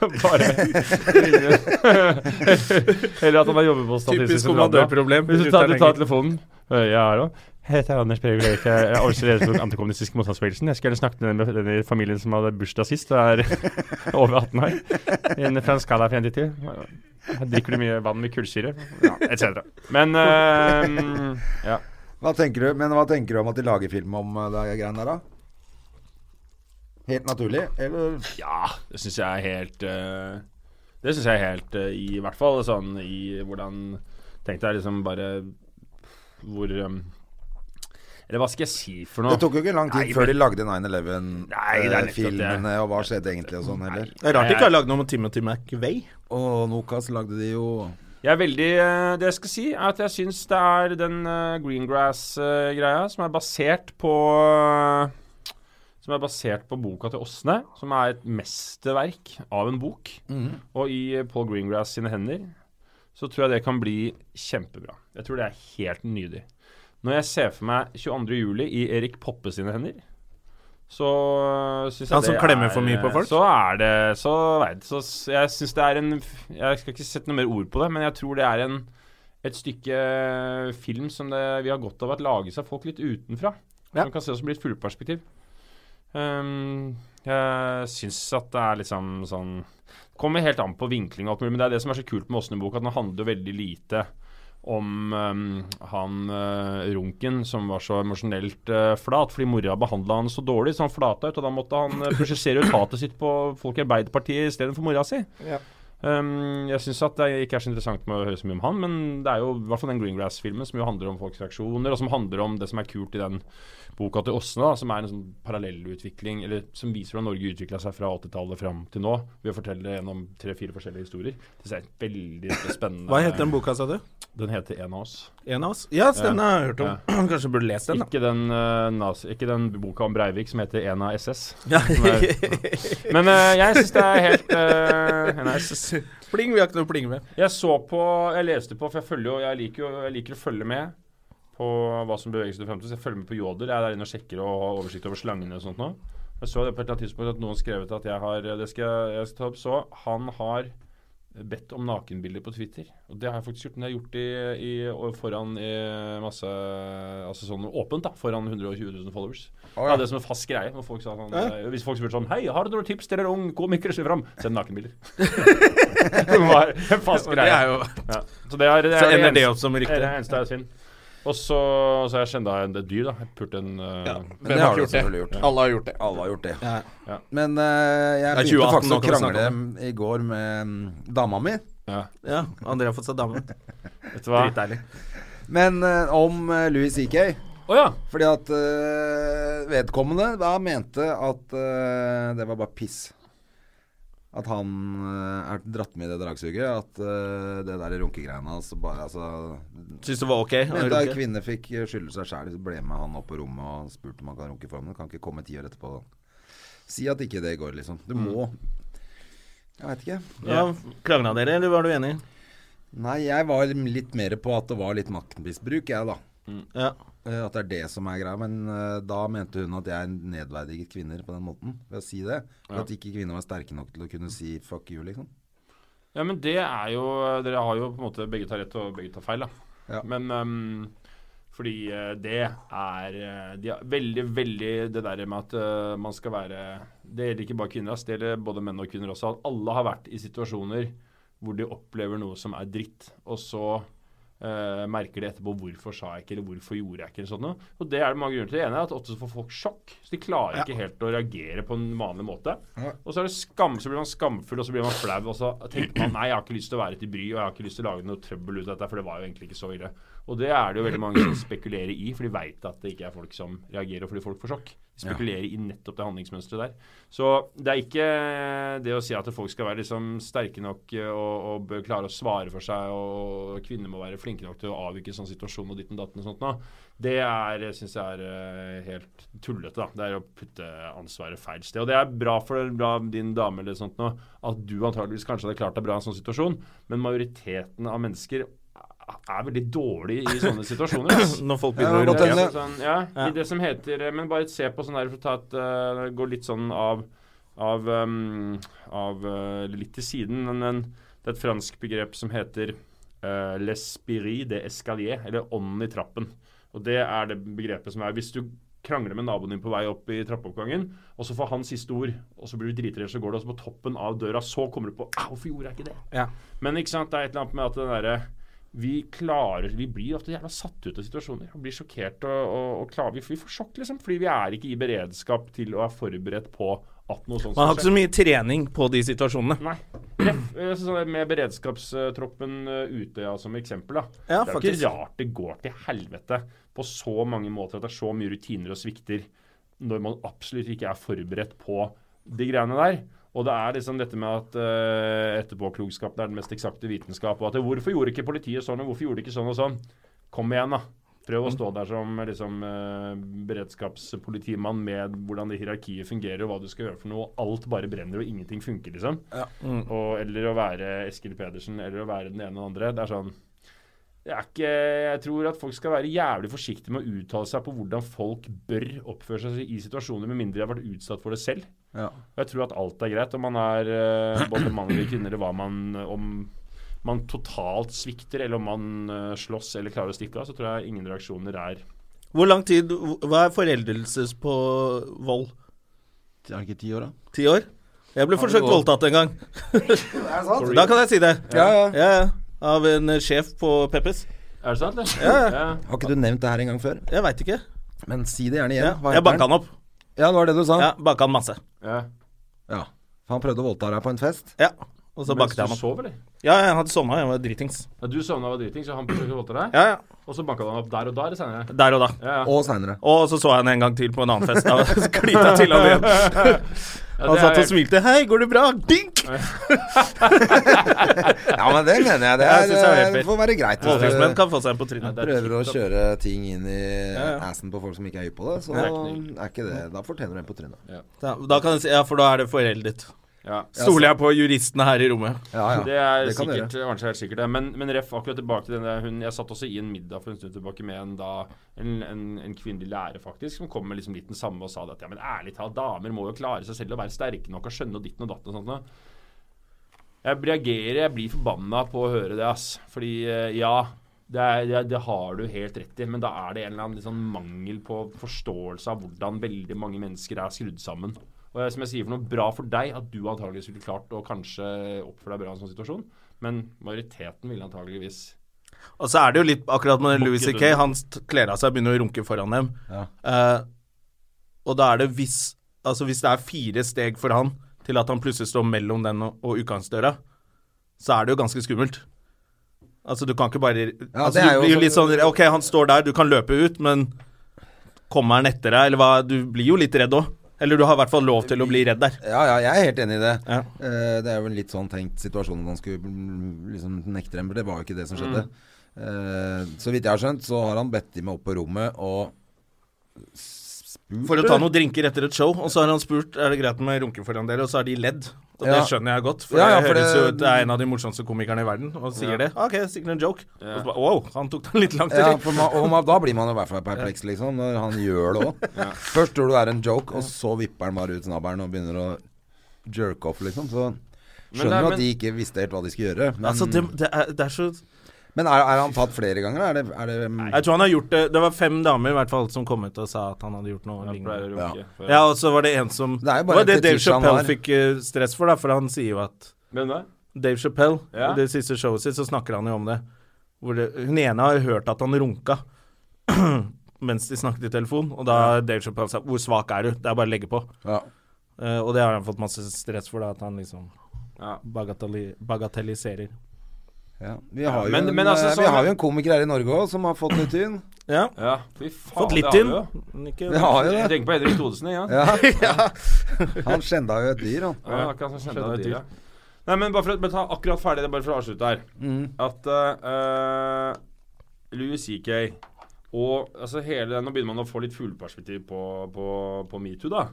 Bare Eller at han har jobbet på Statistisk
Typisk
sentralbyrå.
kommandørproblem.
Hvis du
Ruteren
tar, du tar
henger.
telefonen øh, Jeg er òg. Jeg heter Anders Breivik, jeg er også leder for antikommunistiske motstandsbevegelsen. Jeg skulle gjerne snakket med den- med den i familien som hadde bursdag sist, og er [LAUGHS] over 18 år. En fra en skala fra 1 til 10. Her Drikker du mye vann med kullsyre? Ja, etc. Men øh, ja.
Hva tenker du, men hva tenker du om at de lager film om eh, det greiene der, da? Helt naturlig, eller?
Ja, det syns jeg er helt eh, Det syns jeg er helt eh, I hvert fall sånn i hvordan Tenkte jeg liksom bare Hvor em, Eller hva skal jeg si for noe?
Det tok jo ikke lang tid
Nei,
før de
men-
lagde
Nei, det er nettopp det.
9-11-filmene, og hva skjedde egentlig og sånn, heller.
Det er rart de ikke har lagd noe med Timothy McVeigh.
Og Nokas lagde de jo
Jeg er veldig eh, Det jeg skal si, er at jeg syns det er den eh, Greengrass-greia som er basert på eh, Som er basert på boka til Åsne, som er et mesterverk av en bok.
Mhm.
Og i eh, Paul Greengrass sine hender så tror jeg det kan bli kjempebra. Jeg tror det er helt nydelig. Når jeg ser for meg 22. juli i Erik Poppe sine hender, så syns jeg
Han som
det
klemmer
er-
for mye på folk?
Så er det Så veit så s- Jeg syns det er en Jeg skal ikke sette noe mer ord på det, men jeg tror det er en et stykke øh, film som det, vi har godt av at lages av folk litt utenfra.
Ja.
Som kan se oss som litt fugleperspektiv. Ehm, jeg syns at det er liksom sånn Kommer helt an på vinkling og alt mulig, men det er det som er så kult med Åsne-boka, at den handler jo veldig lite om ehm, han eh, Runken som var så emosjonelt eh, flat fordi mora behandla han så dårlig, så han flata ut, og da måtte han eh, prosjisere ut hatet sitt på folk i Arbeiderpartiet istedenfor mora si. Ehm, jeg syns at det ikke er så interessant med å høre så mye om han, men det er jo i hvert fall den Greengrass-filmen som jo handler om folks reaksjoner, og som handler om det som er kult i den boka til Åsne, da, som er en sånn parallellutvikling, eller som viser hvordan Norge utvikla seg fra 80-tallet fram til nå, ved å fortelle det gjennom tre-fire forskjellige historier. Det synes jeg er veldig spennende.
[LAUGHS] Hva het den boka, sa du?
Den heter En av oss.
En av oss? Ja, den har jeg hørt om. [CLEARS THROAT] Kanskje burde lest den, da.
Ikke den, eh, nazi, ikke den boka om Breivik som heter En av SS.
[LAUGHS] Ja.
Men eh, jeg syns det er helt eh, En av SS.
Pling, vi har ikke noe pling med.
Jeg så på Jeg leste på, for jeg følger jo Jeg liker, jo, jeg liker å følge med på hva som beveger seg til fremtiden. Så jeg følger med på Joder. Jeg er der inne og sjekker og har oversikt over slangene og sånt nå. Jeg så det på et eller annet tidspunkt at noen skrevet at jeg har Det skal jeg- jeg skal ta opp. Så han har bedt om nakenbilder på Twitter. Og det har jeg faktisk gjort. Men det har jeg gjort i, i, og foran i masse Altså sånn åpent, da. Foran 120 000 followers.
Å, ja.
Jeg hadde det som en fast greie. Når folk sa sånn, eh, hvis folk spurte sånn Hei, har du noen tips til en ung komiker? Se fram. Send nakenbilder. [LAUGHS] det var en fast
Det
greie.
er jo
Ja. Så det er, det er
Så ender
eneste-
det opp som
det er det
rykte.
eneste jeg synd. Og så så har jeg skjenda en et dyr, da. Jeg pulte en eh,
Men det har de selvfølgelig gjort.
Alle har gjort det.
Alle har gjort det.
Ja.
Ja.
Men eh, jeg
Ja,
begynte
2018
faktisk
nå
å
kan vi snakke
krangle
om
i går med mm, dama mi.
Ja.
Ja, André har fått seg dame.
Vet du hva? Å
Dritdeilig.
Men eh, om eh, Louis CK
ja!
Fordi at eh, vedkommende da mente at eh, det var bare piss. At han eh, er dratt med i det dragsuget. At eh, det der runkegreiene hans bare altså,
Syns det var ok? Han
Mente
runker.
ei kvinne fikk eh, skylde seg sjæl. Ble med han opp på rommet og spurte om han kan runke for ham. Du kan ikke komme ti år etterpå og si at ikke det går, liksom. Du må Jeg veit ikke.
Ja, Krangla dere, eller var du enig?
Nei, jeg var litt mer på at det var litt maktmisbruk, jeg, da.
Ja.
Eh, At det er det som er greia. Men eh, da mente hun at jeg nedverdiget kvinner på den måten. Ved å si det. Og At ikke kvinner var sterke nok til å kunne si 'fuck you', liksom.
ja, men det er jo Dere har jo på en måte Begge tar rett, og begge tar feil, da.
Ja.
Men ehm, fordi eh, det er eh, de har veldig, veldig det der med at eh, man skal være Det gjelder ikke bare kvinner, ass, det gjelder både menn og kvinner også. At alle har vært i situasjoner hvor de opplever noe som er dritt, og så eh, merker de etterpå 'hvorfor sa jeg ikke', eller 'hvorfor gjorde jeg ikke', eller sånt noe. Og det er det mange grunner til. Det ene er at ofte så får folk sjokk, så de klarer ikke helt å reagere på en vanlig måte. Og så er det skam, så blir man skamfull, og så blir man flau, og så tenker man 'nei, jeg har ikke lyst til å være til bry', og jeg har ikke lyst til å lage noe trøbbel ut av dette, for det var jo egentlig ikke så ille. Og det er det jo veldig mange som spekulerer i, for de veit at det ikke er folk som reagerer fordi folk får sjokk. De spekulerer i nettopp det handlingsmønsteret der. Så det er ikke det å si at folk skal være liksom sterke nok eh, og, og bør klare å svare for seg, og kvinner må være flinke nok til å avvike en sånn situasjon og ditten datten og sånt nå. Det er, syns jeg er eh, helt tullete, da. Det er å putte ansvaret feil sted. Og det er bra for bra din dame eller sånt nå, at du antageligvis kanskje hadde klart deg bra i en sånn situasjon, men majoriteten av mennesker er veldig dårlig i sånne situasjoner. ass.
[CLEARS THROAT] Når folk
Ja,
begynner å
godt
runke.
hende.
Ja, sånn, ja, i det som heter eh, Men bare se på sånn her for å ta et eh, Gå litt sånn av Av, ehm, av eh, litt til siden men, men det er et fransk begrep som heter uh, L'esprit de escalier Eller ånden i trappen Og det er det begrepet som er Hvis du krangler med naboen din på vei opp i trappeoppgangen Og så får han siste ord Og så blir du dritredd Så går du også på toppen av døra Så kommer du på «Au, Hvorfor gjorde jeg ikke det?
Ja.
Men ikke sant, det er et eller annet med at den derre vi klarer, vi blir ofte jævla satt ut av situasjoner. og blir sjokkert og, og, og klarer, vi, vi får sjokk, liksom. Fordi vi er ikke i beredskap til å være forberedt på at noe sånt
Man har ikke så mye trening på de situasjonene.
Nei. Ref, eh, sånn der med beredskapstroppen eh, Utøya som eksempel, da.
Ja,
det er jo
faktisk.
ikke rart det går til helvete på så mange måter at det er så mye rutiner og svikter når man absolutt ikke er forberedt på de greiene der. Og det er liksom dette med at eh, etterpåklokskapen er den mest eksakte vitenskap, og at det, hvorfor gjorde ikke politiet sånn, og hvorfor gjorde de ikke sånn og sånn? Kom igjen, da. Prøv å stå der som eh, liksom, eh, beredskapspolitimann med hvordan det hierarkiet fungerer, og hva du skal gjøre for noe. og Alt bare brenner, og ingenting funker, liksom. Og, eller å være Eskil Pedersen, eller å være den ene og den andre. Det er sånn det er ikke, Jeg tror at folk skal være jævlig forsiktige med å uttale seg på hvordan folk bør oppføre seg i situasjoner, med mindre de har vært utsatt for det selv.
Ja.
Og Jeg tror at alt er greit om man er eh, både mann eller kvinne, eller hva man Om man totalt svikter, eller om man eh, slåss eller klarer å stikke av, så tror jeg ingen reaksjoner er
Hvor lang tid Hva er foreldelses på vold?
Er det ikke ti år, da?
Ti år? Jeg ble forsøkt
gått?
voldtatt en gang.
[LAUGHS] Er det sant?
Da kan jeg si det.
Ja, ja.
ja. Av en eh, sjef på Peppes.
Er det sant, eller? Ja.
Har ikke du nevnt det her en gang før?
Jeg veit ikke.
Men si det gjerne igjen.
Ja,
Hva heter
jeg banka han opp.
Ja, det var det du sa.
Ja,
Ja.
banka han masse.
ja.
For Han prøvde å voldta deg på en fest.
Ja. Og så
Mens
banket
du
jeg ham opp.
sov, eller?
Ja, jeg hadde sovna, jeg var dritings.
Ja, du sovna og var driting, så han forsøkte å voldta deg?
Ja, ja.
Og så banka han opp der og da, eller senere?
Der og da.
Ja, ja.
Og seinere.
Og så så jeg henne en gang til på en annen fest.
[LAUGHS]
Da klita jeg [LAUGHS] til han igjen.
[LAUGHS] Ja,
Han
det
satt
er-
og smilte. 'Hei, går det bra?' Dink!
Ja, men det mener jeg. Det,
Jeg
er,
synes det er helt
det
fint.
får være greit. hvis du-
Voldtektsmenn kan få seg en på trynet.
det er
Prøver å
tipp-topp.
kjøre ting inn i
Ja, ja.
assen på folk som ikke er hypp på det, så
Det er kniv.
er ikke det Da fortjener du en på trynet.
Da, da kan jeg si, ja, for da er det foreldet.
Ja.
Stoler jeg på juristene her i rommet?
Ja, ja.
Det er
kan du
sikkert,
gjøre.
kanskje helt sikkert det. Men, men ref, akkurat tilbake til den der hun Jeg satt også i en middag for en stund tilbake med en, da, en, en, en kvinnelig lærer, faktisk, som kom med liksom litt den samme og sa det at ja, men ærlig talt, damer må jo klare seg selv og være sterke nok og skjønne og ditten og datten og sånt noe. Jeg reagerer, jeg blir forbanna på å høre det, ass. Fordi, eh, ja. Det, er, det, det har du helt rett i, men da er det en eller annen litt sånn mangel på forståelse av hvordan veldig mange mennesker er skrudd sammen. Og jeg, som jeg sier for noe, bra for deg at du antageligvis ville klart å kanskje oppføre deg bra i en sånn situasjon, men majoriteten ville antageligvis
Og så er det jo litt akkurat med Louis
Bukket
C.K.
under.
Han st- kler av seg og begynner å runke foran dem. Eh, og da er det hvis Altså hvis det er fire steg for han til at han plutselig står mellom den og, og utgangsdøra, så er det jo ganske skummelt. Altså, du kan ikke bare altså,
det er
Du
jo-
blir jo litt sånn Ok, han står der, du kan løpe ut, men kommer han etter deg, eller hva Du blir jo litt redd òg. Eller du har i hvert fall lov til å bli redd der.
Ja, ja, jeg er helt enig i det.
Ja.
Eh, det er jo en litt sånn tenkt situasjon at han skulle mm, liksom nekte dem, for det var jo ikke det som skjedde.
Mm.
Eh, så vidt jeg har skjønt, så har han bedt dem opp på rommet og spurt
For å ta noen drinker etter et show, og så har han spurt er det greit med runke foran dere, og så har de ledd. Og det
Ja.
skjønner jeg godt, for,
Ja, ja, for
det høres
det-
jo ut det er en av de morsomste komikerne i verden, og sier det. OK, sikkert en joke. Og så bare, wow, han tok den litt langt.
Ja,
eller?
for man, og man, da blir man jo i hvert fall perpleks, liksom, når han gjør det òg. Først tror du det er en joke, og så vipper han bare ut snabberen og begynner å jerke off, liksom. Så
det
skjønner
er-
jo
men-
at de ikke visste helt hva de skulle gjøre. Men,
Altså, det, det, er, det er så
men er, er han tatt flere ganger? Er det, er det mm,
Jeg tror han har gjort det Det var fem damer i hvert fall som kom ut og sa at han hadde gjort noe lignende.
runke,
Ja, og så var det en som
Det er jo
Det
bare
var det
et
Dave
fetisj han
Chappelle
har.
fikk eh, stress for, da, for han sier jo at
Hvem da?
Dave Chappelle,
Ja.
i det siste showet sitt, så snakker han jo om det. Hvor det hun ene har hørt at han runka [CLEARS THROAT] mens de snakket i telefon, og da har Dave Chappelle sa 'Hvor svak er du?' Det er bare å legge på.
Ja.
Eh, og det har han fått masse stress for, da, at han liksom
Ja.
bagatelli bagatelliserer.
Ja. Vi har jo
Men-
en,
men altså,
eh,
sånn-
vi har jo en komiker her i Norge òg som har fått litt tyn.
Ja.
Ja, fy faen.
Fått litt
det
inn,
har vi jo.
men ikke
Vi har jo
Jeg
det.
tenker på Henrik Thodesen, ja. ja.
Ja. Han skjenda jo et dyr, han.
ja akkurat som kjente
Skjønner
det
du.
dyret. Nei, men bare for å bare ta akkurat ferdig det, bare for å avslutte her. At eh, eh, Louis CK og altså hele den, Nå begynner man å få litt fugleperspektiv på, på, på metoo, da.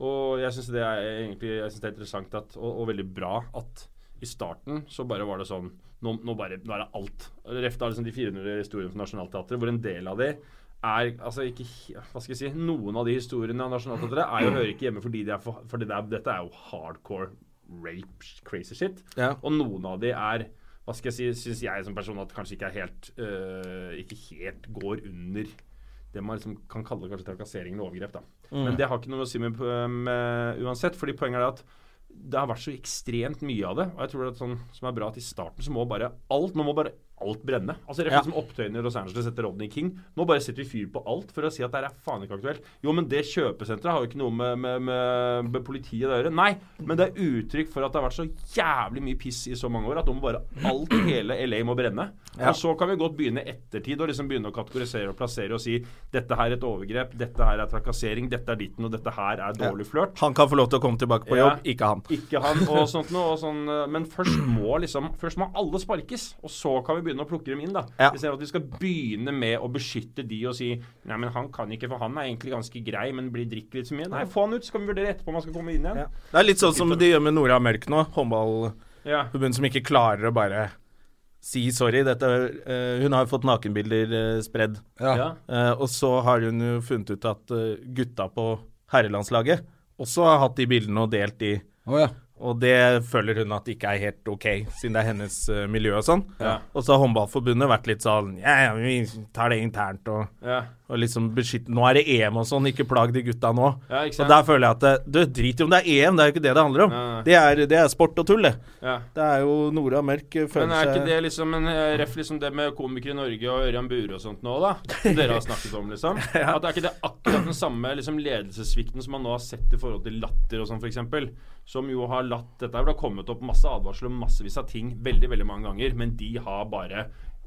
Og jeg syns det er egentlig jeg synes det er interessant at, og, og veldig bra at i starten så bare var det sånn Nå, nå, bare, nå er det alt. Ref da liksom de 400 historiene fra Nationaltheatret, hvor en del av de er altså ikke he- Hva skal jeg si Noen av de historiene av Nationaltheatret er jo hører ikke hjemme fordi, de er for, fordi det er, dette er jo hardcore rape, crazy shit.
Ja.
Og noen av de er Hva skal jeg si Syns jeg som person at kanskje ikke er helt øh, Ikke helt går under det man liksom kan kalle kanskje trakassering eller overgrep. da. Men det har ikke noe å si med, med uansett, fordi poenget er at det har vært så ekstremt mye av det. Og jeg tror at sånn som er bra at i starten så må bare alt nå må bare alt brenne. Altså rett og slett som opptøyene i Los Angeles etter Rodney King. Nå bare setter vi fyr på alt for å si at det her er faen ikke aktuelt. Jo, men det kjøpesenteret har jo ikke noe med, med, med, med politiet å gjøre. Nei, men det er uttrykk for at det har vært så jævlig mye piss i så mange år at nå må bare alt i hele LA må brenne. Og så kan vi godt begynne i ettertid og liksom begynne å kategorisere og plassere og si dette her er et overgrep, dette her er trakassering, dette er ditten og dette her er dårlig flørt.
Han kan få lov til å komme tilbake på
Ja.
jobb, ikke han.
Ikke han og sånt noe. Og sånn, eh, men først må liksom Først må alle sparkes, og så kan vi begynne å plukke dem inn. da
Ja.
Istedenfor at vi skal begynne med å beskytte de og si Nei, men han kan ikke, for han er egentlig ganske grei, men blir drikker litt for mye. Nei, få han ut, så kan vi vurdere etterpå om han skal komme inn igjen.
Ja. Det er litt sånn som de gjør med Nora Mørk nå, håndball...
Ja.
Hun som ikke klarer å bare si sorry. Dette, eh, hun har jo fått nakenbilder eh, spredd.
Ja.
Ja.
Eh, og så har hun jo funnet ut at eh, gutta på herrelandslaget også har hatt de bildene og delt de.
Å ja.
Og det føler hun at ikke er helt ok, siden det er hennes eh, miljø og sånn.
Ja.
Og så har Håndballforbundet vært litt sånn Ja, ja, vi tar det internt og,
Ja.
og liksom beskytte Nå er det EM og sånn, ikke plag de gutta nå.
Ja, ikke sant?
og der føler jeg at det, Du, drit i om det er EM, det er jo ikke det det handler om.
Nei, nei.
Det, er, det er sport og tull, det.
ja.
Det er jo Nora Mørk eh, føler
Men er ikke
seg
det liksom en eh, ref liksom det med komikere i Norge og Ørjan Bure og sånt nå, da? Som dere har snakket om, liksom. At er ikke det akkurat den samme liksom, ledelsessvikten som man nå har sett i forhold til latter og sånn, f.eks.? Som jo har latt Dette har vel kommet opp masse advarsler om massevis av ting veldig, veldig mange ganger, men de har bare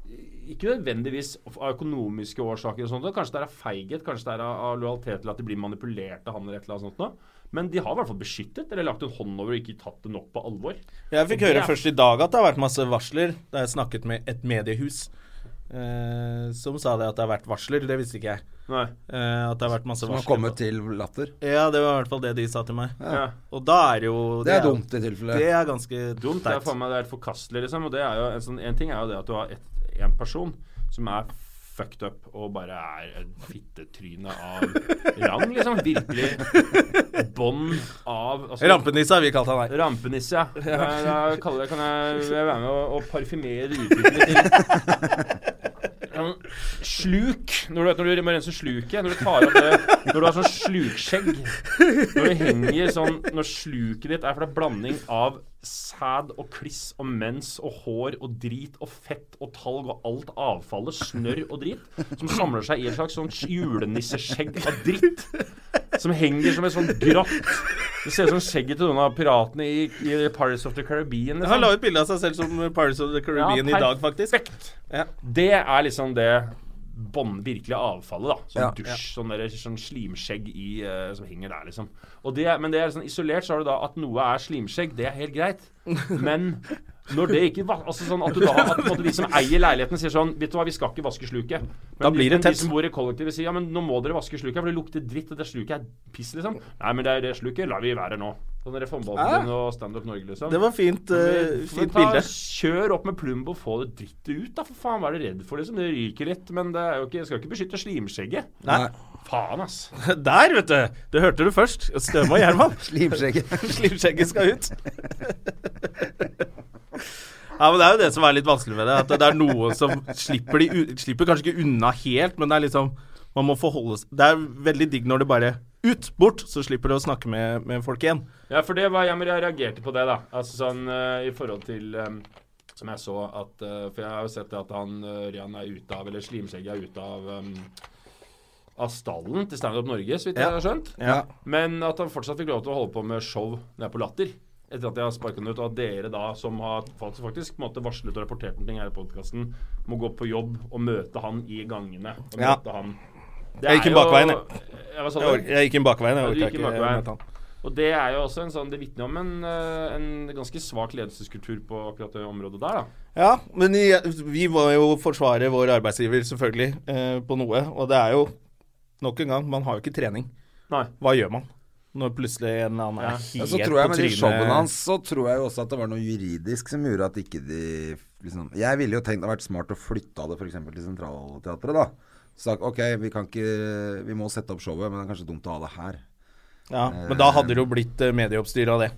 eh, ikke nødvendigvis av økonomiske årsaker og sånt. og Kanskje det er av feighet, kanskje det er av, av lojalitet til at de blir manipulert av han eller et eller annet sånt noe. Men de har i hvert fall beskyttet, eller lagt en hånd over og ikke tatt det nok på alvor.
Jeg fikk
Og det
høre
er-
først i dag at det har vært masse varsler. Da jeg snakket med et mediehus eh, som sa det at det har vært varsler. Det visste ikke jeg.
Nei.
Eh, at det har vært masse
Som har
varsler.
kommet til latter.
Ja, det var i hvert fall det de sa til meg.
Ja.
Og da er det jo
Det er dumt i tilfelle.
Det er ganske
dumt. Det er faen meg det er helt forkastelig, liksom. Og det er jo en, sånn, en ting er jo det at du har et, en person som er fucked up og bare er et fittetryne av rang, liksom. Virkelig bånd av altså-
Rampenisse har vi kalt han her.
Rampenisse, ja. Jeg, jeg kaller det, kan jeg, jeg være med og, og parfymere uttrykket litt? Sånn Sluk. Når du, vet, når du må rense sluket Når du tar opp det Når du har sånn slukskjegg Når det henger sånn Når sluket ditt er for det er blanding av sæd og kliss og mens og hår og drit og fett og talg og alt avfallet, snørr og drit, som samler seg i et slags sånn julenisseskjegg av dritt. som henger som et sånt grått Det ser ut som skjegget til noen av piratene i, i Pirates of the Caribbean. liksom.
Han la ut bilde av seg selv som Pirates of the Caribbean
Ja,
i dag, faktisk. Ja.
Det er liksom det bånd, virkelige avfallet, da. Sånn
Ja.
dusj, sånn, der, sånn slimskjegg i, eh, som henger der, liksom. Og det, men det er sånn isolert, så har du da at noe er slimskjegg, det er helt greit. Men når det ikke va- Altså sånn at du da at på en måte, de som eier leiligheten, sier sånn Vet du hva, vi skal ikke vaske sluket. Men,
Da blir det
men
tett.
De som bor i kollektivet, sier ja, men nå må dere vaske sluket, for det lukter dritt, og det sluket er piss, liksom. Nei, men det er det sluket lar vi være nå. Sånn Reformballen og Stand Up Norge, liksom.
Det var fint, eh,
Men- men
fint
ta-
bilde.
Kjør opp med Plumbo, få det drittet ut, da. For faen, hva er du redd for, liksom? Det ryker litt, men det er jo ikke, jeg skal ikke beskytte slimskjegget.
Nei.
Faen, ass.
[LAUGHS] Der, vet du! Det hørte du først. Støme og Gjerman.
Slimskjegget.
[LAUGHS] Slimskjegget skal ut. Ja, men Det er jo det som er litt vanskelig med det. At det er noen som slipper de u- Slipper kanskje ikke unna helt, men det er liksom Man må forholde seg Det er veldig digg når det bare Ut! Bort! Så slipper du å snakke med, med folk igjen.
Ja, for det var jeg, men jeg reagerte på det, da. Altså sånn eh, i forhold til eh, som jeg så at eh, For jeg har jo sett det at han eh, Rian er ute av Eller slimskjegget er ute av eh, Av stallen til Standup Norge, så vidt
Ja.
jeg har skjønt.
Ja.
Men at han fortsatt fikk lov til å holde på med show nede på Latter. Etter at jeg har sparket han ut, og at dere da, som har fakt- faktisk på en måte varslet og rapportert om ting her i podkasten, må gå på jobb og møte han i gangene. Og
Ja.
møte han. Det
Jeg gikk
er
inn
jo-
bakveien,
Ja, hva sa
Jeg, ork-
du?
jeg gikk inn bakveien.
Ja,
Jeg
du
orka
gikk inn
ikke
bakveien.
møte han.
Og det er jo også en sånn Det vitner om en, eh, en ganske svak ledelseskultur på akkurat det området der, da.
Ja, men i- vi må jo forsvare vår arbeidsgiver, selvfølgelig, eh, på noe. Og det er jo Nok en gang, man har jo ikke trening.
Nei.
Hva gjør man når plutselig en eller annen er helt
Ja, så tror jeg
på
med de
trynet?
showene hans, så tror jeg jo også at det var noe juridisk som gjorde at ikke de liksom, Jeg ville jo tenkt det hadde vært smart å flytte det f.eks. til Centralteatret, da. Sagt ok, vi kan ikke Vi må sette opp showet, men det er kanskje dumt å ha det her.
Ja, men da hadde det jo blitt eh, medieoppstyr av det.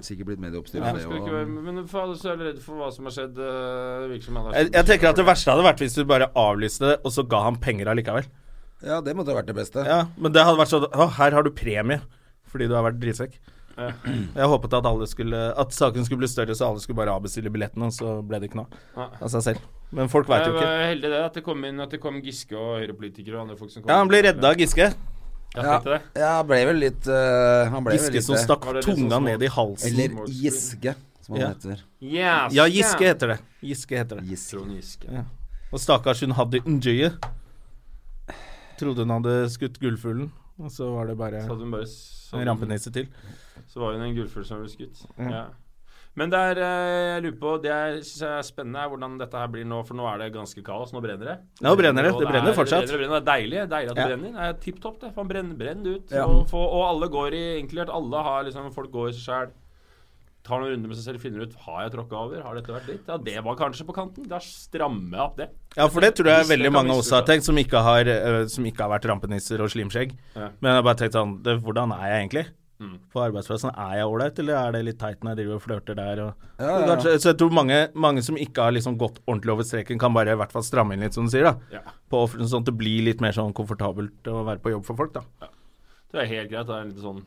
Sikkert blitt medieoppstyr av det
Skal ikke være,
og
men for alle så er jeg redd for hva som har skjedd. eh, virker som han er-
Jeg, jeg tenker at det verste hadde vært hvis du bare avlyste det, og så ga han penger allikevel.
Ja, det måtte ha vært det beste.
Ja, men det hadde vært sånn Å, her har du premie fordi du har vært drittsekk.
Ja.
Jeg håpet at, alle skulle, at saken skulle bli større, så alle skulle bare avbestille billettene, og så ble det ikke noe
Nei.
av seg selv. Men folk veit
Jeg
jo ikke.
var heldig det, at det kom inn At det kom Giske og Høyre-politikere og andre folk som kom
Ja, han ble redda av Giske.
Jeg
Ja,
tenkte det.
ja, ble vel litt øh, Han ble vel
Giske
litt
som
det.
stakk
Var det litt sånn
tunga
små-
ned i halsen.
Eller Giske, som han
Ja.
heter.
Yes,
Ja, Giske heter det. Giske heter det.
Giske.
Trond Giske.
Og stakkars hun hadde Njøye. Trodde hun hadde skutt gullfuglen, og så var det bare
Så hadde hun bare s-
en rampenisse til.
Så var hun en gullfugl som ble skutt. Ja. Men det er, eh, jeg lurer på Det jeg synes er spennende, er hvordan dette her blir nå. For nå er det ganske kaos. Nå brenner det.
Nå brenner det.
Og
Det brenner
er-
fortsatt.
Det, brenner, det er deilig. Deilig at det
Ja.
brenner. Det er tipp topp, det. Faen, brenn, brenn det ut. Og, få- og alle går i Egentlig at alle har liksom Folk går i seg sjæl. Tar noen runder med seg selv, finner ut har jeg tråkka over. Har dette vært litt? Ja, det var kanskje på kanten. Da strammer jeg opp det.
Ja, for det tror jeg
Hvis det
veldig
kan
mange også
misbrukes.
har tenkt, som ikke har, øh, som ikke har vært rampenisser og slimskjegg.
Ja. Mm.
Men jeg har bare tenkt sånn det, Hvordan er jeg egentlig? På arbeidsplassen, er jeg ålreit, eller er det litt teit når jeg driver og flørter der? Og...
ja, ja.
Kanskje, så jeg tror mange, mange som ikke har liksom gått ordentlig over streken, kan bare i hvert fall stramme inn litt, som du sier. da
Ja.
På offentligheten, Sånn at det blir litt mer sånn komfortabelt å være på jobb for folk, da.
Det er helt greit. Det er en liten sånn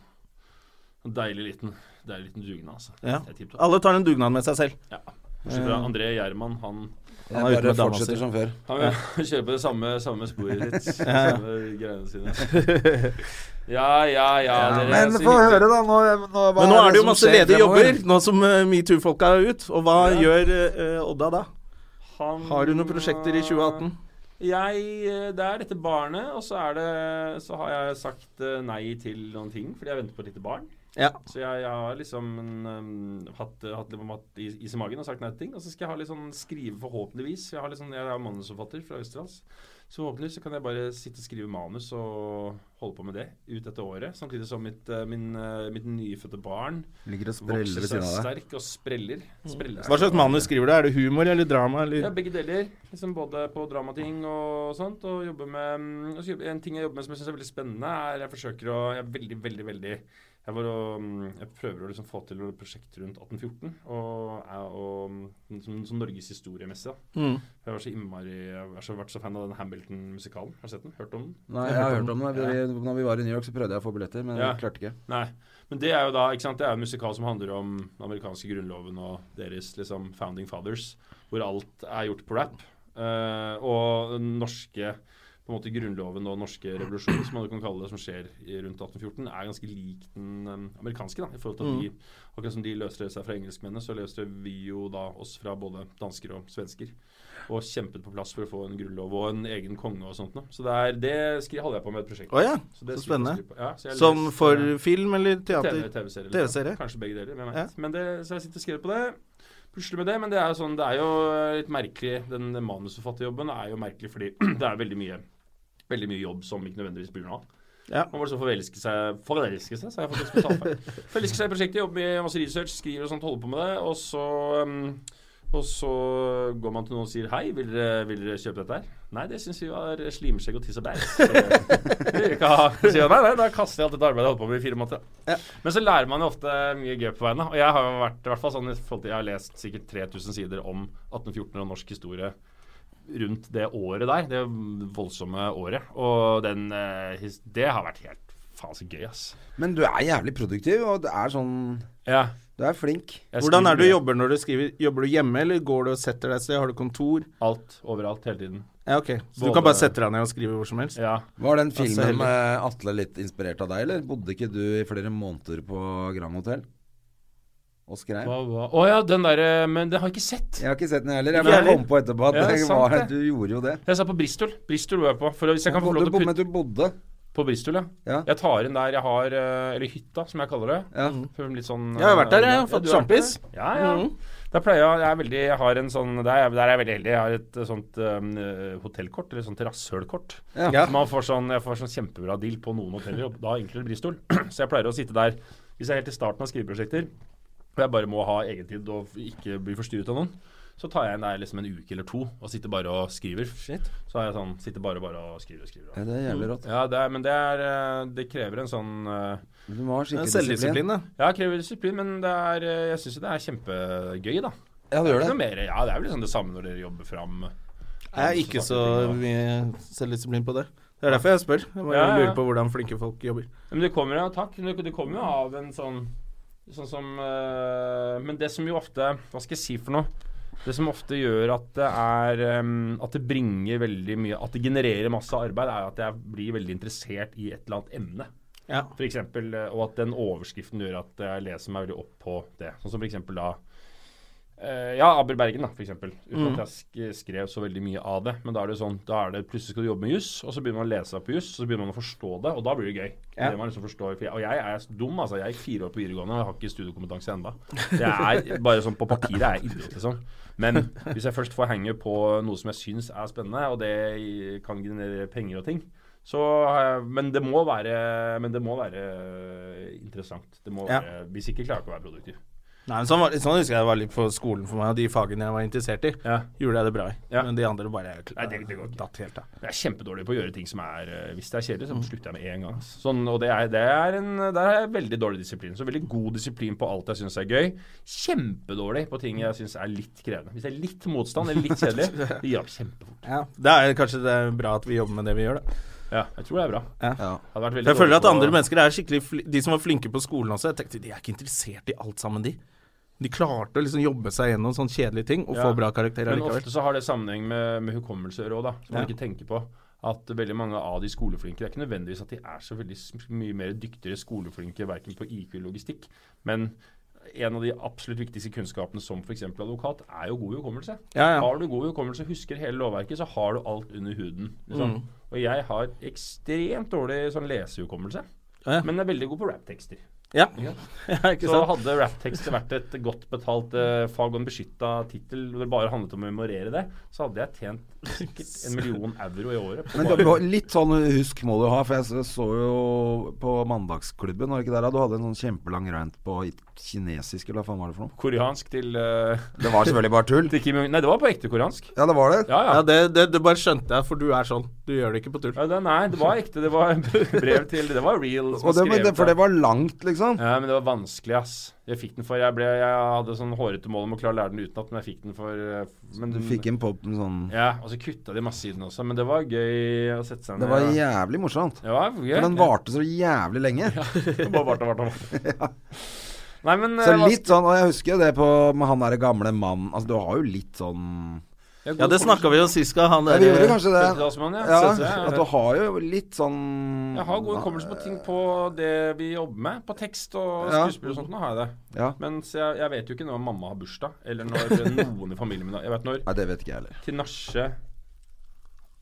en deilig liten, deilig liten dugnad, altså.
Ja.
Det er tipp topp.
Alle tar en dugnad med seg selv.
Ja. Bortsett
Eh.
fra André Gjerman, han,
Jeg
er ute
bare
med dama
fortsetter
si.
som før.
han [LAUGHS] kjører på det samme, samme
[LAUGHS]
sporet ditt. Samme greiene sine. Ja, ja, ja. dere er
Men
så
få
hyggelige.
høre, da. Nå, nå, hva
Men nå er det jo
som
masse
skjer
ledige
fremover?
jobber, nå som øh, metoo-folka er ut. Og hva gjør øh, Odda da?
Han,
Har du noen prosjekter i 2018?
Jeg, eh, Det er dette barnet, og så, er det, så har jeg sagt eh, nei til noen ting fordi jeg venter på et lite barn.
Ja.
Så jeg, jeg har liksom mm, hatt, hatt litt mat i, is i magen og sagt nei til ting. Og så skal jeg ha litt sånn skrive, forhåpentligvis. Jeg, har litt sånn, jeg er manusforfatter fra Østerdals. Så forhåpentligvis så kan jeg bare sitte og skrive manus og holde på med det ut dette året. Samtidig som mitt, eh, min, eh, mitt nyfødte barn
Ligger og spreller
vokser
ved siden
seg
av deg.
sterk og spreller. spreller
Hva slags manus skriver du? Er det humor eller drama?
ja,
Eller?
begge deler. Liksom både på dramating og sånt. Og jobbe med mm, og så jobber- En ting jeg jobber med som jeg syns er veldig spennende, er jeg forsøker å Jeg er veldig, veldig, veldig Jeg, var og, mm, jeg prøver å liksom få til noe prosjekt rundt 1814. Og, er- og mm, som, som Norges historiemesse. da.
Mm.
Jeg har så innmari Jeg har så vært så fan av den Hamilton-musikalen. Har du sett den? Hørt om den?
Nei, jeg har hørt om det. Vi, når vi var i New York, så prøvde jeg å få billetter, men
Ja.
jeg klarte ikke.
Nei. Men det er jo da, ikke sant, det er jo en musikal som handler om den amerikanske grunnloven og deres liksom founding fathers, hvor alt er gjort på rap. Eh, og den norske på en måte grunnloven og den norske revolusjonen, som man kan kalle det, som skjer i rundt 1814, er ganske lik den eh, amerikanske. da, i forhold til at
Mm.
de, Akkurat som de løsrev seg fra engelskmennene, så løste vi jo da oss fra både dansker og svensker. Og kjempet på plass for å få en grunnlov og en egen konge og sånt noe. Så det, er, det skri, holder jeg på med et prosjekt.
Å ja,
Så det
så
skriver-
spennende.
skriver på. Ja, så jeg
Som
leser-
for film eller
TV,
teater?
TV-serie.
TV-serie.
liksom. Kanskje begge deler. hvem
Ja.
vet. Men det, så jeg sitter og skriver på det. Pusler med det, men det er jo sånn, det er jo litt merkelig. Den manusforfatterjobben er jo merkelig fordi [CLEARS THROAT] det er veldig mye, veldig mye jobb som ikke nødvendigvis blir noe av.
Ja.
Man må liksom forelske seg Forelske seg, sa jeg faktisk på
[LAUGHS]
talefeil. Forelske seg i prosjektet, jobbe med masse research, skriver og sånt, holder på med det, og så um, og så går man til noen og sier hei, vil dere, vil dere kjøpe dette her? Nei, det syns vi var slimskjegg og tiss og bæsj.
[LAUGHS]
Så vi vil ikke ha- så sier jeg, Nei, nei, da kaster jeg alt dette arbeidet jeg holdt på med i fire måneder. da.» Men så lærer man jo ofte mye gøy på veien. da. Og jeg har jo vært, i hvert fall sånn, i forhold til- jeg har lest sikkert 3000 sider om 1814 og norsk historie rundt det året der, det voldsomme året. Og den, eh, his- det har vært helt faen så gøy, ass.
Men du er jævlig produktiv, og det er sånn
Ja,
Du er flink.
jeg
Hvordan
skriver
er det du
mye.
jobber når du skriver? Jobber du hjemme, eller går du og setter deg et sted? Har du kontor?
Alt, overalt, hele tiden.
Ja, ok. Så
Både-
du kan bare sette deg ned og skrive hvor som helst?
Ja.
Var den
Altså,
filmen
heller-
med Atle litt inspirert av deg, eller? Bodde ikke du i flere måneder på Grand Hotel? Og skrev?
Hva, hva? Å ja, den derre Men den har jeg ikke sett.
Jeg har ikke sett den heller. Jeg
Ikke
bare
heller.
kom på etterpå at
Ja,
det
sant
var,
det.
du gjorde jo det.
Jeg sa på Bristol. Bristol var jeg på. For hvis jeg kan få
Du
lov til å
bodde-
putte
Men du bodde.
På Bristol, ja.
Ja.
Jeg tar inn der jeg har eh, Eller hytta, som jeg kaller det.
Ja.
For Litt sånn,
Jeg har vært der, jeg.
eh,
Har fått
du har vært
sjampis. Mm.
der? Ja, ja. Der pleier jeg, jeg er veldig Jeg har en sånn Der, er- der er jeg veldig heldig. Jeg har et eh, sånt eh, hotellkort, eller sånt terrassølkort.
Ja.
Så Man får sånn, jeg får sånn kjempebra deal på noen hoteller, og da inkludert Bristol. [CLEARS THROAT] Så jeg pleier å sitte der hvis jeg er helt i starten av skriveprosjekter, og jeg bare må ha egentid og ikke bli forstyrret av noen. Så tar jeg inn der liksom en uke eller to og sitter bare og skriver. Så har jeg sånn, sitter bare, bare og skriver og skriver.
Ja, det er jævlig rått.
Ja, det er, men det er eh, Det krever en sånn eh,
Du må ha
Det er
skikkelig
Selvdisiplin,
disiplin.
da.
Ja, det krever disiplin, men det er eh, Jeg syns jo det er kjempegøy, da.
Ja, du gjør
Ikke noe
det.
mer, ja, det er vel liksom det samme når dere jobber fram eh,
Jeg er ikke så mye selvdisiplin på det. Det er derfor jeg spør. Jeg bare
Ja, ja.
lurer på hvordan flinke folk jobber.
Men det kommer jo, takk, men det det kommer jo av en sånn Sånn som eh, Men det som jo ofte Hva skal jeg si for noe? Det som ofte gjør at det er eh, At det bringer veldig mye At det genererer masse arbeid, er at jeg blir veldig interessert i et eller annet emne.
Ja.
For eksempel, eh, og at den overskriften gjør at jeg leser meg veldig opp på det. Sånn som for eksempel da eh, Ja, Abel Bergen, da, for eksempel.
Mm.
Uten at jeg sk- skrev så veldig mye av det. Men da er det jo sånn, da er det plutselig skal du jobbe med juss, og så begynner man å lese seg på juss, og så begynner man å forstå det, og da blir det gøy.
Ja.
Det man liksom forstår, for jeg, og jeg er dum, altså. Jeg gikk fire år på videregående og jeg har ikke studiekompetanse enda. Jeg er bare sånn på papiret er jeg idiot, liksom. Men hvis jeg først får henge på noe som jeg syns er spennende, og det kan generere penger og ting, så, eh, men, det må være, men det må være eh, interessant. Det må
Ja.
være, hvis ikke klarer jeg ikke å være produktiv.
Nei, men sånn, var, sånn husker jeg det var litt på skolen for meg, og de fagene jeg var interessert i,
Ja.
gjorde jeg det bra i.
Ja.
Men de andre bare jeg,
Nei, det- det går ikke.
datt helt av.
Jeg er kjempedårlig på å gjøre ting som er eh, Hvis det er kjedelig, så slutter jeg med en gang. ass. Sånn, og det er, det er en, der er jeg veldig dårlig disiplin. Så veldig god disiplin på alt jeg syns er gøy. Kjempedårlig på ting jeg syns er litt krevende. Hvis det er litt motstand eller litt kjedelig, det gir opp kjempefort.
Ja. Det er kanskje det er bra at vi jobber med det vi gjør, da.
Ja, jeg tror det er bra.
Ja.
Hadde vært veldig
For jeg føler
dårlig
at andre
på-
mennesker er skikkelig fli De som var flinke på skolen også, jeg tenkte de er ikke interessert i alt sammen, de. De klarte å liksom jobbe seg gjennom sånne kjedelige ting og
Ja.
få bra karakterer
Men
likevel.
ofte så har det sammenheng med, med hukommelse å gjøre også, da, som man
Ja.
ikke tenker på. At veldig mange av de skoleflinke Det er ikke nødvendigvis at de er så veldig s- mye mer dyktigere skoleflinke verken på IQ eller logistikk, men en av de absolutt viktigste kunnskapene som f.eks. advokat, er jo god hukommelse.
Ja, ja.
Har du god hukommelse, husker hele lovverket, så har du alt under huden. Liksom.
Mm.
Og jeg har ekstremt dårlig sånn lesehukommelse,
Ja.
men er veldig god på rap-tekster.
Ja. [LAUGHS] ja, ikke sant?
Så hadde rap-tekster vært et godt betalt eh, fag og en beskytta tittel, hvor det bare handlet om å memorere det, så hadde jeg tjent sikkert en million euro i året. På
Men
bare,
da- litt sånn husk må du ha, for jeg så- så jo på Mandagsklubben, var det ikke der da? du hadde en sånn kjempelang rant på i- kinesisk, eller hva faen var det for noe?
koreansk til, eh,
Det var selvfølgelig bare tull.
til Kim Jong Nei, det var på ekte koreansk.
Ja, det var det.
Ja, ja.
Ja, det, det, det bare skjønte jeg, for du er sånn. Du gjør det ikke på tull.
ja det, nei, det var ekte. Det var [LAUGHS] brev til Det var real. som
Og det, men
skrevet
det, for
av-
det var langt, liksom.
Ja, men det var vanskelig, ass. Jeg fikk den for Jeg, ble, jeg hadde sånn hårete mål om å klare å lære den utenat, men jeg fikk den for eh, men,
Du fikk en pop med sånn
Ja, og så kutta de masse i den også, men det var gøy å sette seg ned.
Det var jævlig morsomt.
det var gøy.
For den varte så jævlig lenge.
Og bare varte og varte
[LAUGHS]
og varte. Nei, men
Så
[LAUGHS] eh, hva-
litt sånn, og jeg husker jo det på med han derre gamle mannen Altså, du har jo litt sånn
Ja, det snakka vi jo sist gang, han
Ja, vi gjorde
derre
kanskje det.
Søte Lassmann, ja.
Ja,
Søte, ja.
at du har jo litt sånn
Jeg har god hukommelse på ting på det vi jobber med. På tekst og
Ja.
skuespill og sånt. Nå har jeg det.
Ja.
Mens jeg, jeg vet jo ikke når mamma har bursdag, eller når noen i familien min har Jeg vet når
Nei, det vet ikke jeg heller.
Tinashe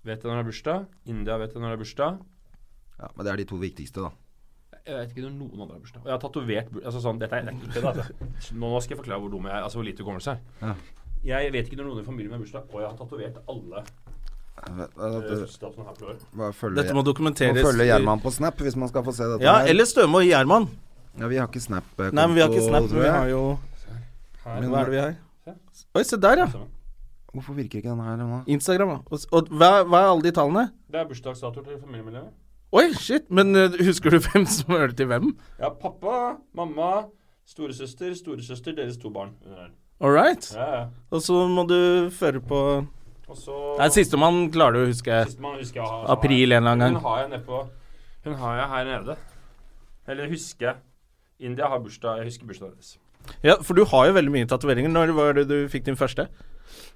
vet jeg når det er bursdag. India vet jeg når det er bursdag.
Ja, men det er de to viktigste, da.
Jeg vet ikke når noen andre har bursdag. Og jeg har tatovert bur- altså sånn, dette er, det er ikke kødd, altså. Nå nå skal jeg forklare hvor dum jeg er, altså hvor lite hukommelse jeg er. Jeg vet ikke når noen i familien min har bursdag, og jeg har tatovert alle
Hva- hva-
eh, fødselsdatoene her på år.
hva- følger-
eh, Dette må
må
dokumenteres.
følge Gjerman på Snap hvis man skal få se dette.
Ja,
her.
eller Støme og Gjerman.
ja, vi har ikke Snap-konto.
Nei, men vi har ikke Snap.
tror
Men vi
jeg.
har jo
Her.
Hva er det vi har? Oi, se der, ja.
Hvorfor virker ikke denne her nå?
Instagram. ja. Og, og hva, hva er alle de tallene?
Det er bursdagsdatoer til familiemedlemmer.
Oi, shit. Men eh, husker du [LAUGHS] hvem som hørte til hvem?
Ja, pappa, mamma, storesøster, storesøster, deres to barn.
All right.
Ja, ja.
Og så må du føre på
Og så
Nei, sistemann klarer du å huske.
Sistemann husker jeg har-
April en eller annen gang.
Hun har jeg nedpå Hun har jeg her nede. Eller husker jeg. India har bursdag. Jeg husker bursdagen hennes.
Ja, for du har jo veldig mye tatoveringer. Når var det du fikk din første?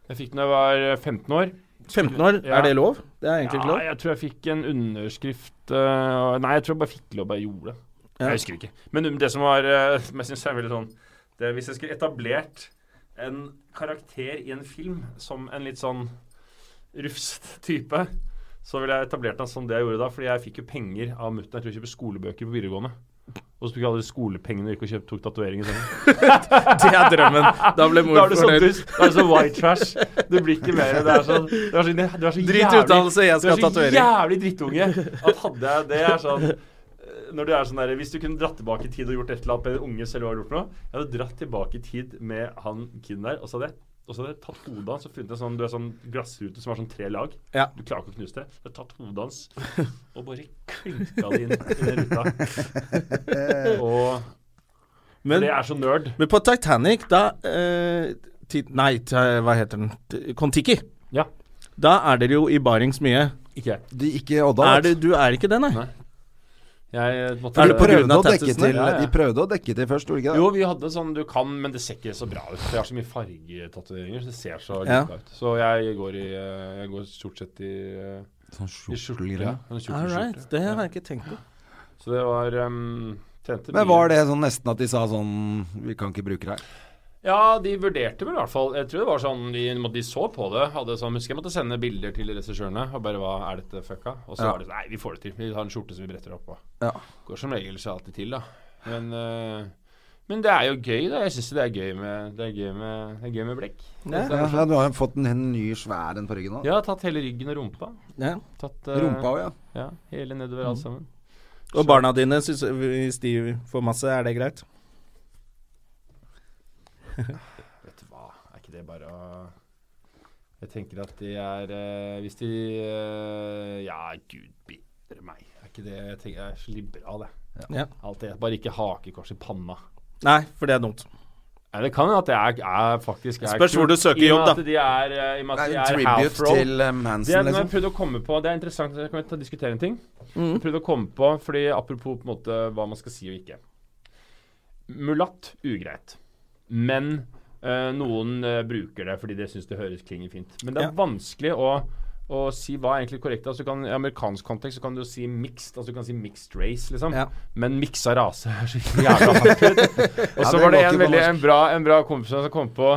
Jeg fikk den da jeg var 15 år.
15 år,
Ja.
er det lov? Det er egentlig
Ja,
ikke lov.
jeg tror jeg fikk en underskrift eh, Nei, jeg tror jeg bare fikk lov bare gjorde det.
Ja.
Jeg husker ikke. Men det som var eh, som jeg synes er veldig sånn det, er Hvis jeg skulle etablert en karakter i en film som en litt sånn rufst type, så ville jeg etablert den som det jeg gjorde da, fordi jeg fikk jo penger av mutter'n. Jeg tror jeg kjøpte skolebøker på videregående. Og så tok jeg alle de skolepengene og gikk og kjøpte, tok tatovering i sengen.
Det er drømmen. Da ble
Da
mor
er det sånn
fornøyd.
dust. Da er det så white trash. Det blir ikke mer. Det er så, det er så, det er så
Drit i
jævlig-
utdannelse, jeg skal
du er
ha tatovering.
så jævlig drittunge at hadde jeg det er sånn eh, når du er sånn der, Hvis du kunne dratt tilbake i tid og gjort et eller annet med den unge selv, hva har du gjort for noe? Jeg hadde dratt tilbake i tid med han kiden der, og så hadde jeg og så hadde jeg tatt hodet hans og funnet en sånn, du er sånn glassrute som har sånn tre lag.
Ja.
Du klarer ikke å knuse det. Så hadde jeg tatt hodet hans og bare klinka det inn i den ruta.
[LAUGHS]
Og
Men,
det er så nerd.
men på Titanic, da eh, ti, Nei, t- hva heter den? T- Kon-Tiki.
Ja.
Da er dere jo i barings mye.
Ikke jeg.
De ikke Odda.
Er
vet
det, du er ikke det, nei?
Nei. Jeg måtte
Er
de
det på grunn
prøvde
av
å dekke
tattisene?
til
Ja, ja.
De prøvde å dekke til først, gjorde de ikke det?
Jo, vi hadde sånn du kan, men det ser ikke så bra ut. Jeg har så mye fargetatoveringer, så det ser så
Ja.
lika ut. Så jeg går, i, eh, jeg går stort sett i, eh,
Sånn
i skjorte.
skjortegreier.
ja. En skjorte-
All right.
skjorte.
Det har jeg ikke tenkt på.
Så det var um, tjente
Men
mye.
var det sånn nesten at de sa sånn Vi kan ikke bruke deg.
Ja, de vurderte vel i hvert fall. Jeg tror det var sånn De, måtte- de så på det. Hadde sånn, husker jeg måtte sende bilder til regissørene og bare Hva er dette fucka? Og så
Ja.
var det sånn Nei, vi får det til. Vi har en skjorte som vi bretter opp på.
Ja.
Går som regel så alltid til, da. Men, eh, men det er jo gøy, da. Jeg syns det er gøy med Det er gøy med, det er gøy med blekk.
Ja.
Ja, ja, du har jo fått en, en ny svær en på ryggen nå.
Jeg har tatt hele ryggen og rumpa.
Ja.
Tatt, eh,
Rumpa òg, ja.
Ja, hele nedover alt sammen.
Og barna dine, synes, hvis de får masse, er det greit?
Vet du hva, er ikke det bare å Jeg tenker at de er eh, Hvis de eh, Ja, gud bedre meg. Er ikke det Jeg tenker jeg er så liberal, jeg.
Ja.
Alt det. Bare ikke hakekors i panna.
Nei, for det er dumt.
Nei, det kan jo at jeg er, er faktisk er
Spørs
kul.
hvor du søker
I og med
jobb,
at De er, eh, I og med
Det
at
er
de
en
er
tribute
half-roll.
til eh,
Det er,
Manson,
nå har jeg
liksom. Mm.
prøvd å komme på, det er interessant, jeg kan ta, diskutere en ting. Jeg prøvde å komme på, fordi apropos på en måte hva man skal si og ikke. Mulatt, ugreit. Men eh, noen eh, bruker det fordi det syns det høres klinger fint. Men det er
Ja.
vanskelig å, å si hva er egentlig korrekt. Altså, du kan, I amerikansk kontekst så kan du jo si mixed, altså du kan si mixed race, liksom.
Ja.
Men miksa rase er så jævla hardt. Og
[LAUGHS] Ja,
så
det
var
går
det
ikke
en,
på
veldig,
norsk.
en, bra, en bra kompis som kom på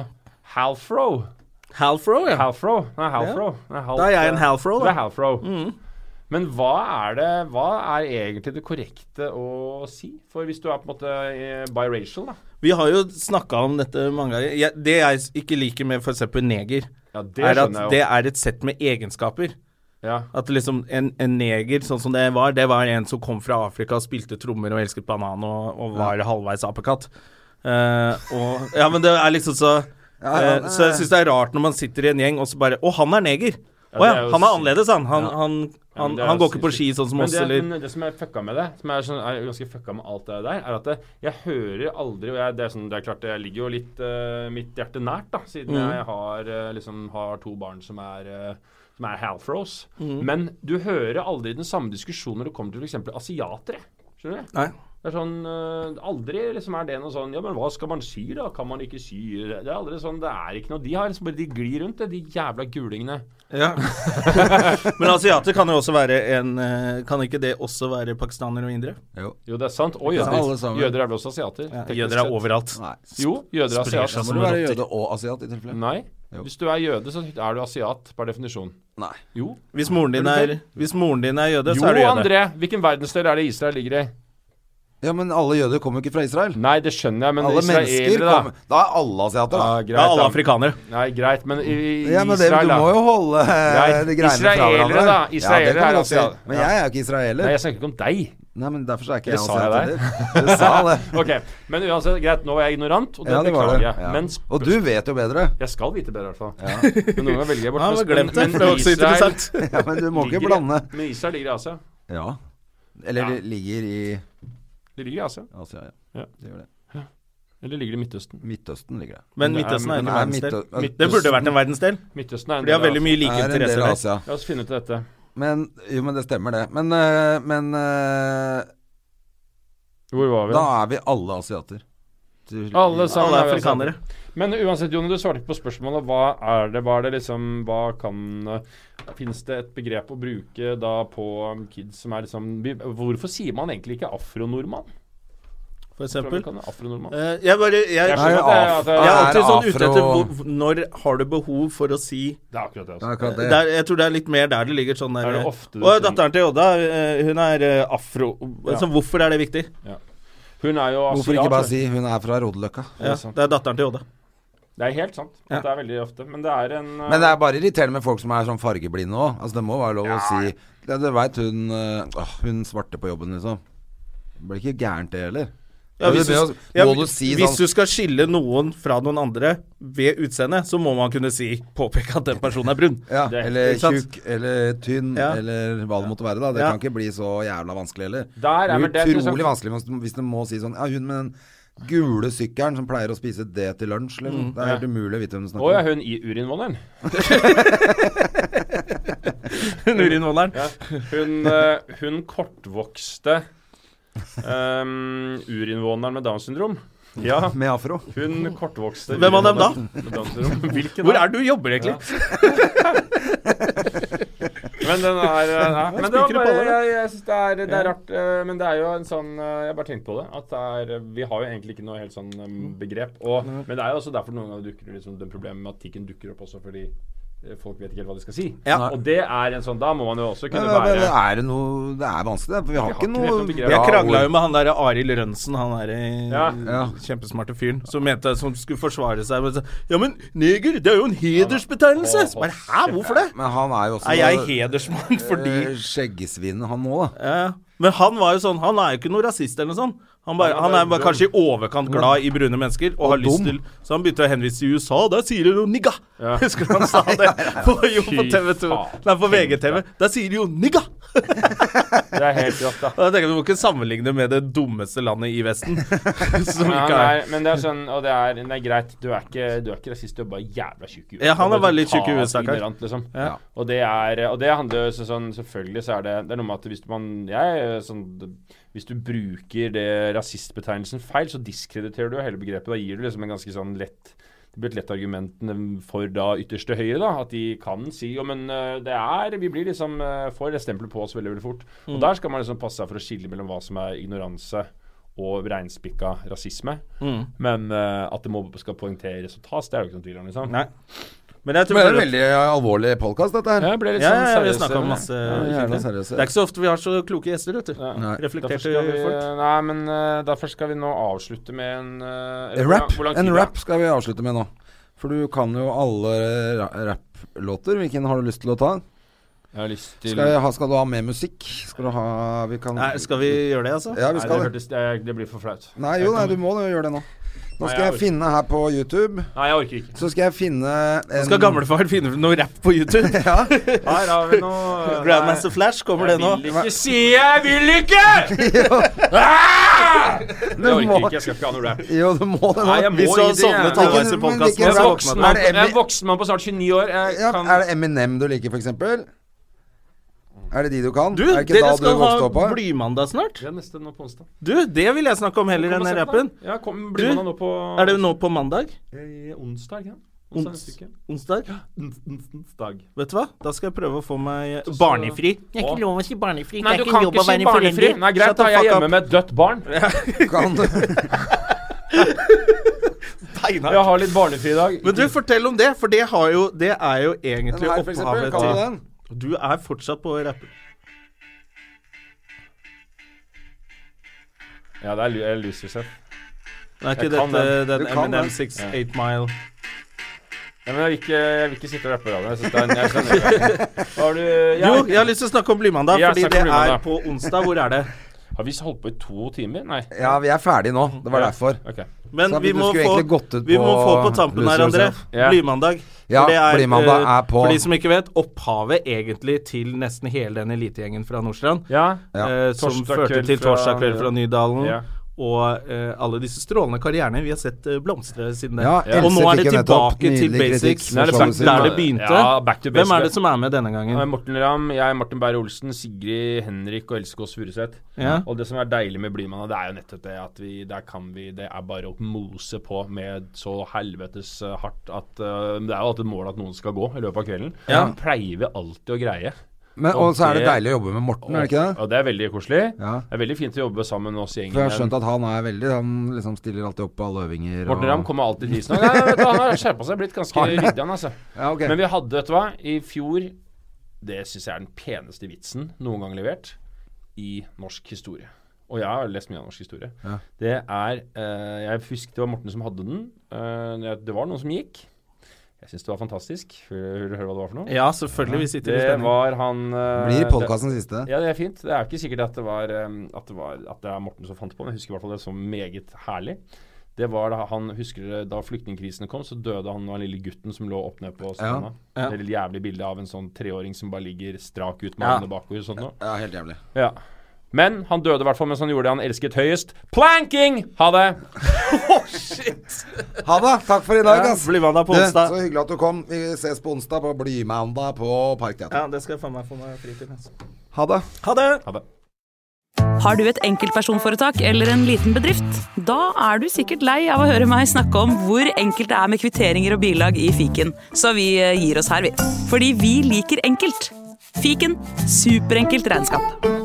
Halfrow.
Halfro, ja.
Halfro. Nei, halfro. Nei, half,
Da er jeg en halfro,
eh, Du
da. Mm.
er halfro. Men hva er det Hva er egentlig det korrekte å si? For hvis du er på en måte eh, biracial, da.
Vi har jo snakka om dette mange ganger. Jeg, det jeg s- ikke liker med f.eks. neger,
Ja, det
er at
skjønner
det
jeg jo.
er et sett med egenskaper.
Ja.
At liksom en, en neger, sånn som det var, det var en som kom fra Afrika og spilte trommer og elsket banan og, og var halvveis apekatt. Eh, og, ja, men det er liksom så
Ja, ja,
eh,
det-
Så jeg syns det er rart når man sitter i en gjeng og så bare Å, han er neger! Å ja,
det er jo
han er
sykt.
annerledes, han. Han, han,
Ja, men
han,
det er
han
jo
går ikke på ski
sinnssykt.
sånn som
Men
oss,
det,
eller
Men det som er fucka med det, som er, sånn, er ganske fucka med alt det der, er at det, jeg hører aldri Og jeg, det, er sånn, det er klart, jeg ligger jo litt eh, mitt hjerte nært, da, siden
Mm.
jeg har, eh, liksom, har to barn som er eh, som er halfros.
Mm.
Men du hører aldri den samme diskusjonen når det kommer til f.eks. asiatere. Skjønner du?
Nei.
Det er sånn eh, Aldri liksom er det noe sånn Ja, men hva skal man si, da? Kan man ikke si Det er aldri sånn Det er ikke noe De har liksom bare De glir rundt det, de jævla gulingene.
Ja. Men asiater kan jo også være en eh, Kan ikke det også være pakistanere og indere?
Jo.
Jo, det er sant. Og
Ja, alle
jøder.
sammen.
Jøder er vel også asiater. teknisk
Jøder
sett.
er overalt.
Nei.
Jo, jøder er
Da må
asiater.
du være jøde og asiat i tilfelle.
Nei.
Jo.
Hvis du er jøde, så er du asiat per definisjon.
Nei.
Jo.
Hvis moren din er, hvis moren din er jøde,
Jo,
så er du jøde.
André. Hvilken verdensdel er det Israel ligger i?
Ja, men alle jøder kommer jo ikke fra Israel.
Nei, det skjønner jeg, men
alle mennesker
israelere, da.
kommer Da er alle asiater,
Ja,
da.
greit,
Da er alle
da.
afrikanere.
Nei, greit, men i, i
Ja, men det,
Israel,
du
da.
må jo holde eh,
Greit.
de greiene fra
Israelere,
hverandre.
da.
ja,
Israelere
det kan
er
du godt si.
asiater.
Men jeg er jo ikke israeler.
Nei,
Nei,
jeg snakker ikke om deg.
men derfor så er ikke jeg
Det sa jeg
asiat
der.
heller. [LAUGHS]
[LAUGHS]
Du sa det.
Ok, Men uansett, greit, nå var jeg ignorant, og det,
Ja, det var
beklager
det.
jeg.
Ja.
Men sp-
Og du vet jo bedre. [LAUGHS]
jeg skal vite bedre, i hvert fall. Men noen ganger velger jeg bort
Ja, men
men-
glemt det.
men
Det var også
Israel
interessant.
Ja, men [LAUGHS] du må ikke
ligger i-
blande.
Men Israel ligger i Asia.
Ja. Eller
Ja.
det ligger i
Det ligger i Asia.
Asia, ja.
Ja.
Det gjør det.
Eller ligger det i Midtøsten?
Midtøsten ligger det.
Men
Men det er-
Midtøsten er ikke
men
Nei,
en verdensdel.
Midtø-
Midtøsten
Det burde vært en verdensdel.
Midtøsten er en
For de har
del av
veldig mye
Østen
like
er en del
interesser
av
der.
Asia.
La oss finne ut av dette.
Men Jo, men det stemmer, det. Men, eh, men eh,
Hvor var vi?
da er vi alle asiater. Du-
Alle sammen
Alle
er
er
jo
afrikanere.
Men uansett, Jon, du svarte ikke på spørsmålet. Hva er det? Hva er det liksom Hva kan Fins det et begrep å bruke da på um, kids som er liksom vi- Hvorfor sier man egentlig ikke afronordmann?
For
Tror man
eksempel.
kan det, Afronordmann.
Eh, jeg bare jeg,
Jeg
Nei,
skjønner at det, at det,
Jeg er
Nei,
alltid sånn ute
afro-
etter hvor, hvor- når har du behov for å si
det er akkurat det.
Ja,
Altså.
akkurat det.
der, Jeg tror det er litt mer der det ligger sånn der
Er det ofte du
«Å,
sier-
datteren til Odda, eh, hun er eh, afro altså, Hvorfor er det viktig?
altså. Hun er jo
Hvorfor ikke bare
asiat.
si 'hun er fra Rodeløkka'?
Ja,
sant.
det er datteren til Odda.
Det er helt sant.
Ja.
Det er veldig ofte. Men det er en uh,
Men det er bare irriterende med folk som er sånn fargeblinde òg. Altså, det må være lov å si ja, Du veit hun eh, åh, Hun svarte på jobben, liksom. Det blir ikke gærent, det heller.
Ja,
Men
hvis,
det blir
du,
jo-
ja,
må du si
hvis
sånn
du skal skille noen fra noen andre ved utseendet, så må man kunne si påpeke at den personen er brun.
[LAUGHS]
[LAUGHS]
ja,
Det-
Eller
ikke sant?
tjukk, eller tynn,
Ja.
eller hva det måtte være. da Det
Ja.
kan ikke bli så jævla vanskelig heller.
Der er vel
det
det
blir
interessant.
utrolig vanskelig hvis- hvis du må si sånn Ja, hun med den gule sykkelen som pleier å spise det til lunsj, liksom. Det er helt umulig å vite hvem du
eh, Å ja,
snakker om.
hun i urinvåneren.
Nurinnvåneren.
Ja. Hun, eh, hun kortvokste um, urinvåneren med Downs syndrom. Ja,
Med afro.
hun kortvokste
Hvem av dem da?
urinvåneren med Downs syndrom. Hvilken
Hvor
da?
er det du jobber egentlig?
Men den er ja, Men det var
spiker i
bare
baller, da.
Jeg, jeg synes det er, det er rart eh, Men det er jo en sånn eh, Jeg har bare tenkte på det At det er eh, Vi har jo egentlig ikke noe helt sånn eh, begrep og, Men det er jo også derfor Noen ganger dukker det liksom Den problematikken dukker opp også Fordi eh, folk vet ikke helt hva de skal si
Ja.
Og det er en sånn Da må man jo også
Men,
kunne
men,
være
er [LAUGHS] det noe Det er vanskelig, det. For vi har ikke
helt
noe
noe begrep.
bra
Jeg krangla jo
ord.
med han der Arild Rønsen, han der eh,
Ja.
Ja.
kjempesmarte fyren, som mente som skulle forsvare seg. Men, så, ja, men neger, det er jo en hedersbetegnelse! Så bare, Hæ, hvorfor det?
Men han er jo også
Er jeg hedersmann fordi
Eh, Skjeggsvinet, han nå, da.
ja. Men han var jo sånn, han er jo ikke noe rasist eller noe sånt. Han, bare, han er bare kanskje i overkant glad i brune mennesker, og har lyst
dum.
til Så han begynte å henvise til USA, der sier de jo 'nigga'! [LAUGHS] Husker du han sa det? På, jo, på
Fy
TV2.
faen.
Nei, på VGTV. Der sier de jo 'nigga'!
Det er helt rått da
Og da tenker jeg, Vi må ikke sammenligne med det dummeste landet i Vesten. [LAUGHS] Som
men,
ikke
han
er
er, men det er sånn Og det er, det er greit Du er ikke, du er ikke rasist Du er bare jævla tjukk i huet.
Ja, han er
Du bare
veldig tjukk i huet,
totalt
stakkar.
sånn ignorant, Liksom.
Ja.
Og det er Og det handler jo så- sånn Selvfølgelig så er det Det er noe med at hvis man Jeg er sånn Hvis du bruker det rasistbetegnelsen feil, så diskrediterer du jo hele begrepet. Da gir du liksom en ganske sånn lett det blir et lett argument for da ytterste høyre, da, at de kan si jo, men eh, det er Vi blir liksom eh, får det stempelet på oss veldig veldig fort.
Mm.
Og der skal man liksom passe seg for å skille mellom hva som er ignoranse og reinspikka rasisme.
Mm.
Men eh, at det må, skal poengteres og tas, det er det jo ikke noen tvil om, liksom.
Nei. Men jeg tror
Men det er
bare-
en veldig alvorlig podkast, dette her.
Jeg ble litt
ja,
sånn
ja, vi
seriøs,
snakka om
eller?
masse
jævla
fint, ja.
seriøse.
Det er ikke så ofte vi har så kloke gjester, vet du.
Nei.
Reflekterte
Derfor skal vi,
folk.
nei, men eh, derfor skal vi nå avslutte med en eh,
En
hvor lang-
rap.
hvor lang tid
En
er det?
rap skal vi avslutte med nå. For du kan jo alle ra- rapplåter. Hvilken har du lyst til å ta?
Jeg har lyst til
Skal, jeg ha, skal du ha med musikk? Skal du ha Vi kan
Nei, skal vi gjøre det, altså?
Ja, vi
Nei, det,
skal det.
hørtes, det, det blir for flaut.
Nei, jo, nei, du må jo gjøre det nå. Nå
Nei,
skal jeg
jeg
finne her på YouTube
Nei, jeg orker ikke.
Så skal jeg finne en
Skal gamlefar finne noe rapp på YouTube?
Ja.
Her har vi noe
[LAUGHS] Grandmaster Flash, kommer det
Jeg
nå?
vil ikke si jeg vil ikke! Ah! Jeg orker
må-
ikke, jeg skal ikke ha noe rap.
Jo, du må det nå.
Nei, jeg må
Hvis du
i
har
det.
sovnet
Jeg
halvveis i
Men
podkasten,
hvilken
er
så
en
rap-
voksen
voksen
man.
mann
Er det
Jeg er
Emmy-
en voksen mann på snart 29 år. Jeg
Ja,
kan
er det Eminem du liker, for eksempel? Er det de du kan?
Du,
er det ikke
dere
da du
skal
vokste
ha
opp på?
blymandag snart.
Det er neste nå på onsdag.
Du, det vil jeg snakke om heller enn
Kom og
den
se på
rappen.
den. Ja, kom, blir
Du,
man da nå på
Er det nå på mandag?
Eh, Onsdag, ja.
Ons-
Onsdag.
Onsdag?
Onsdag.
Vet du hva? Da skal jeg prøve å få meg eh,
Så-
barnefri.
Jeg er ikke
lov å si barnefri.
Nei, du kan ikke si barnefri. Nei, greit, da er jeg hjemme med et dødt barn.
[LAUGHS] Kan du?
Jeg har litt barnefri i dag.
Men du, fortell om det, for det, har jo, det er jo egentlig
Den her, for eksempel.
opphavet
Kan du
til
den?
Du er fortsatt på rappen.
Ja, det er Lu- eh, Lucy Seth.
Det er ikke
Jeg kan
dette
den.
den
Du kan
Eminem
den.
6 8 Mile
Ja, men jeg vil, ikke, jeg vil ikke sitte og rappe på radioen. Jeg synes det er en- jeg [LAUGHS] skjønner det. Har du jeg,
Jo, jeg har lyst til å snakke om Blymandag,
Ja,
fordi
snakk
det
om
er
Blymandag.
på onsdag. Hvor er det?
Har vi holdt på i to timer? Nei.
Ja, vi er ferdige nå. Det var derfor.
Ok.
Men
Så
vi
du
må,
skulle
få,
egentlig gått ut
vi må
på
få på tampen
Lose
her, André.
Yourself.
Ja.
Blymandag.
Ja,
For det
Blymandag
eh,
er på-
For de som ikke vet, opphavet egentlig til nesten hele den elitegjengen fra Nordstrand.
Ja.
Ja.
eh, som
Torsdag
førte
kveld
til
fra-
Torsdag kveld fra Nydalen.
Ja.
Og eh, alle disse strålende karrierene vi har sett eh, blomstre siden det.
Ja,
Og
Else
nå
fikk
er det
jo nettopp
tilbake til
nydelig
basic.
kritikk
Nå er det
for showet
back-
sitt.
der det begynte.
Ja, back to
Hvem er
basic.
det som er med denne gangen?
Eh, Morten Ramm, jeg, Martin Beyer-Olsen, Sigrid Henrik og Else Kåss Furuseth.
Ja.
Og det som er deilig med Blymann, det er jo nettopp det at vi der kan vi Det er bare å mose på med så helvetes eh, hardt at eh, Det er jo alltid et mål at noen skal gå i løpet av kvelden.
Ja.
Det pleier vi alltid å greie.
Men, og så er det
Og det-
deilig å jobbe med Morten, er det ikke det?
Og det er veldig koselig.
Ja.
Det er veldig fint å jobbe sammen med oss i gjengen.
For jeg har skjønt at han er veldig Han liksom stiller alltid opp på alle øvinger.
Morten Ramm
Og,
kommer alltid i tirsdag. Nei, vet du, han har skjerpa seg, blitt ganske ryddig, han altså.
ja, ok.
Men vi hadde, vet du hva, i fjor Det syns jeg er den peneste vitsen noen gang levert i norsk historie. Og jeg har lest mye av norsk historie.
Ja.
Det er eh, Jeg husker det var Morten som hadde den. Eh, det- det var noen som gikk. Jeg syns det var fantastisk. Vil du høre hva det var for noe?
Ja, selvfølgelig. Vi sitter i
Det
stemning.
var han eh,
Blir
det-
podkasten siste?
ja, det er fint. Det er ikke sikkert at det var, um, at det, var at det er Morten som fant på den. Jeg husker i hvert fall det som meget herlig. Det var da han, husker dere, da flyktningkrisen kom, så døde han og den lille gutten som lå opp ned på stranda.
Ja.
Det lille jævlige bildet av en sånn treåring som bare ligger strak ut med
Ja.
armene bakover og sånt noe.
Ja, helt jævlig.
Ja. Men han døde i hvert fall mens han gjorde det han elsket høyest. Planking! Ha det!
Ha det! Takk for i dag,
Ja,
ass.
Blymandag på
Du,
onsdag.
Så hyggelig at du kom. Vi ses på onsdag på Blymandag på
Ja,
Parkteatret.
det skal jeg faen meg få meg fri til. Altså.
Ha det.
Ha det!
Ha det.
Har du et enkeltpersonforetak eller en liten bedrift? Da er du sikkert lei av å høre meg snakke om hvor enkelt det er med kvitteringer og bilag i fiken, så vi eh, gir oss her, vi. Fordi vi liker enkelt. Fiken superenkelt regnskap.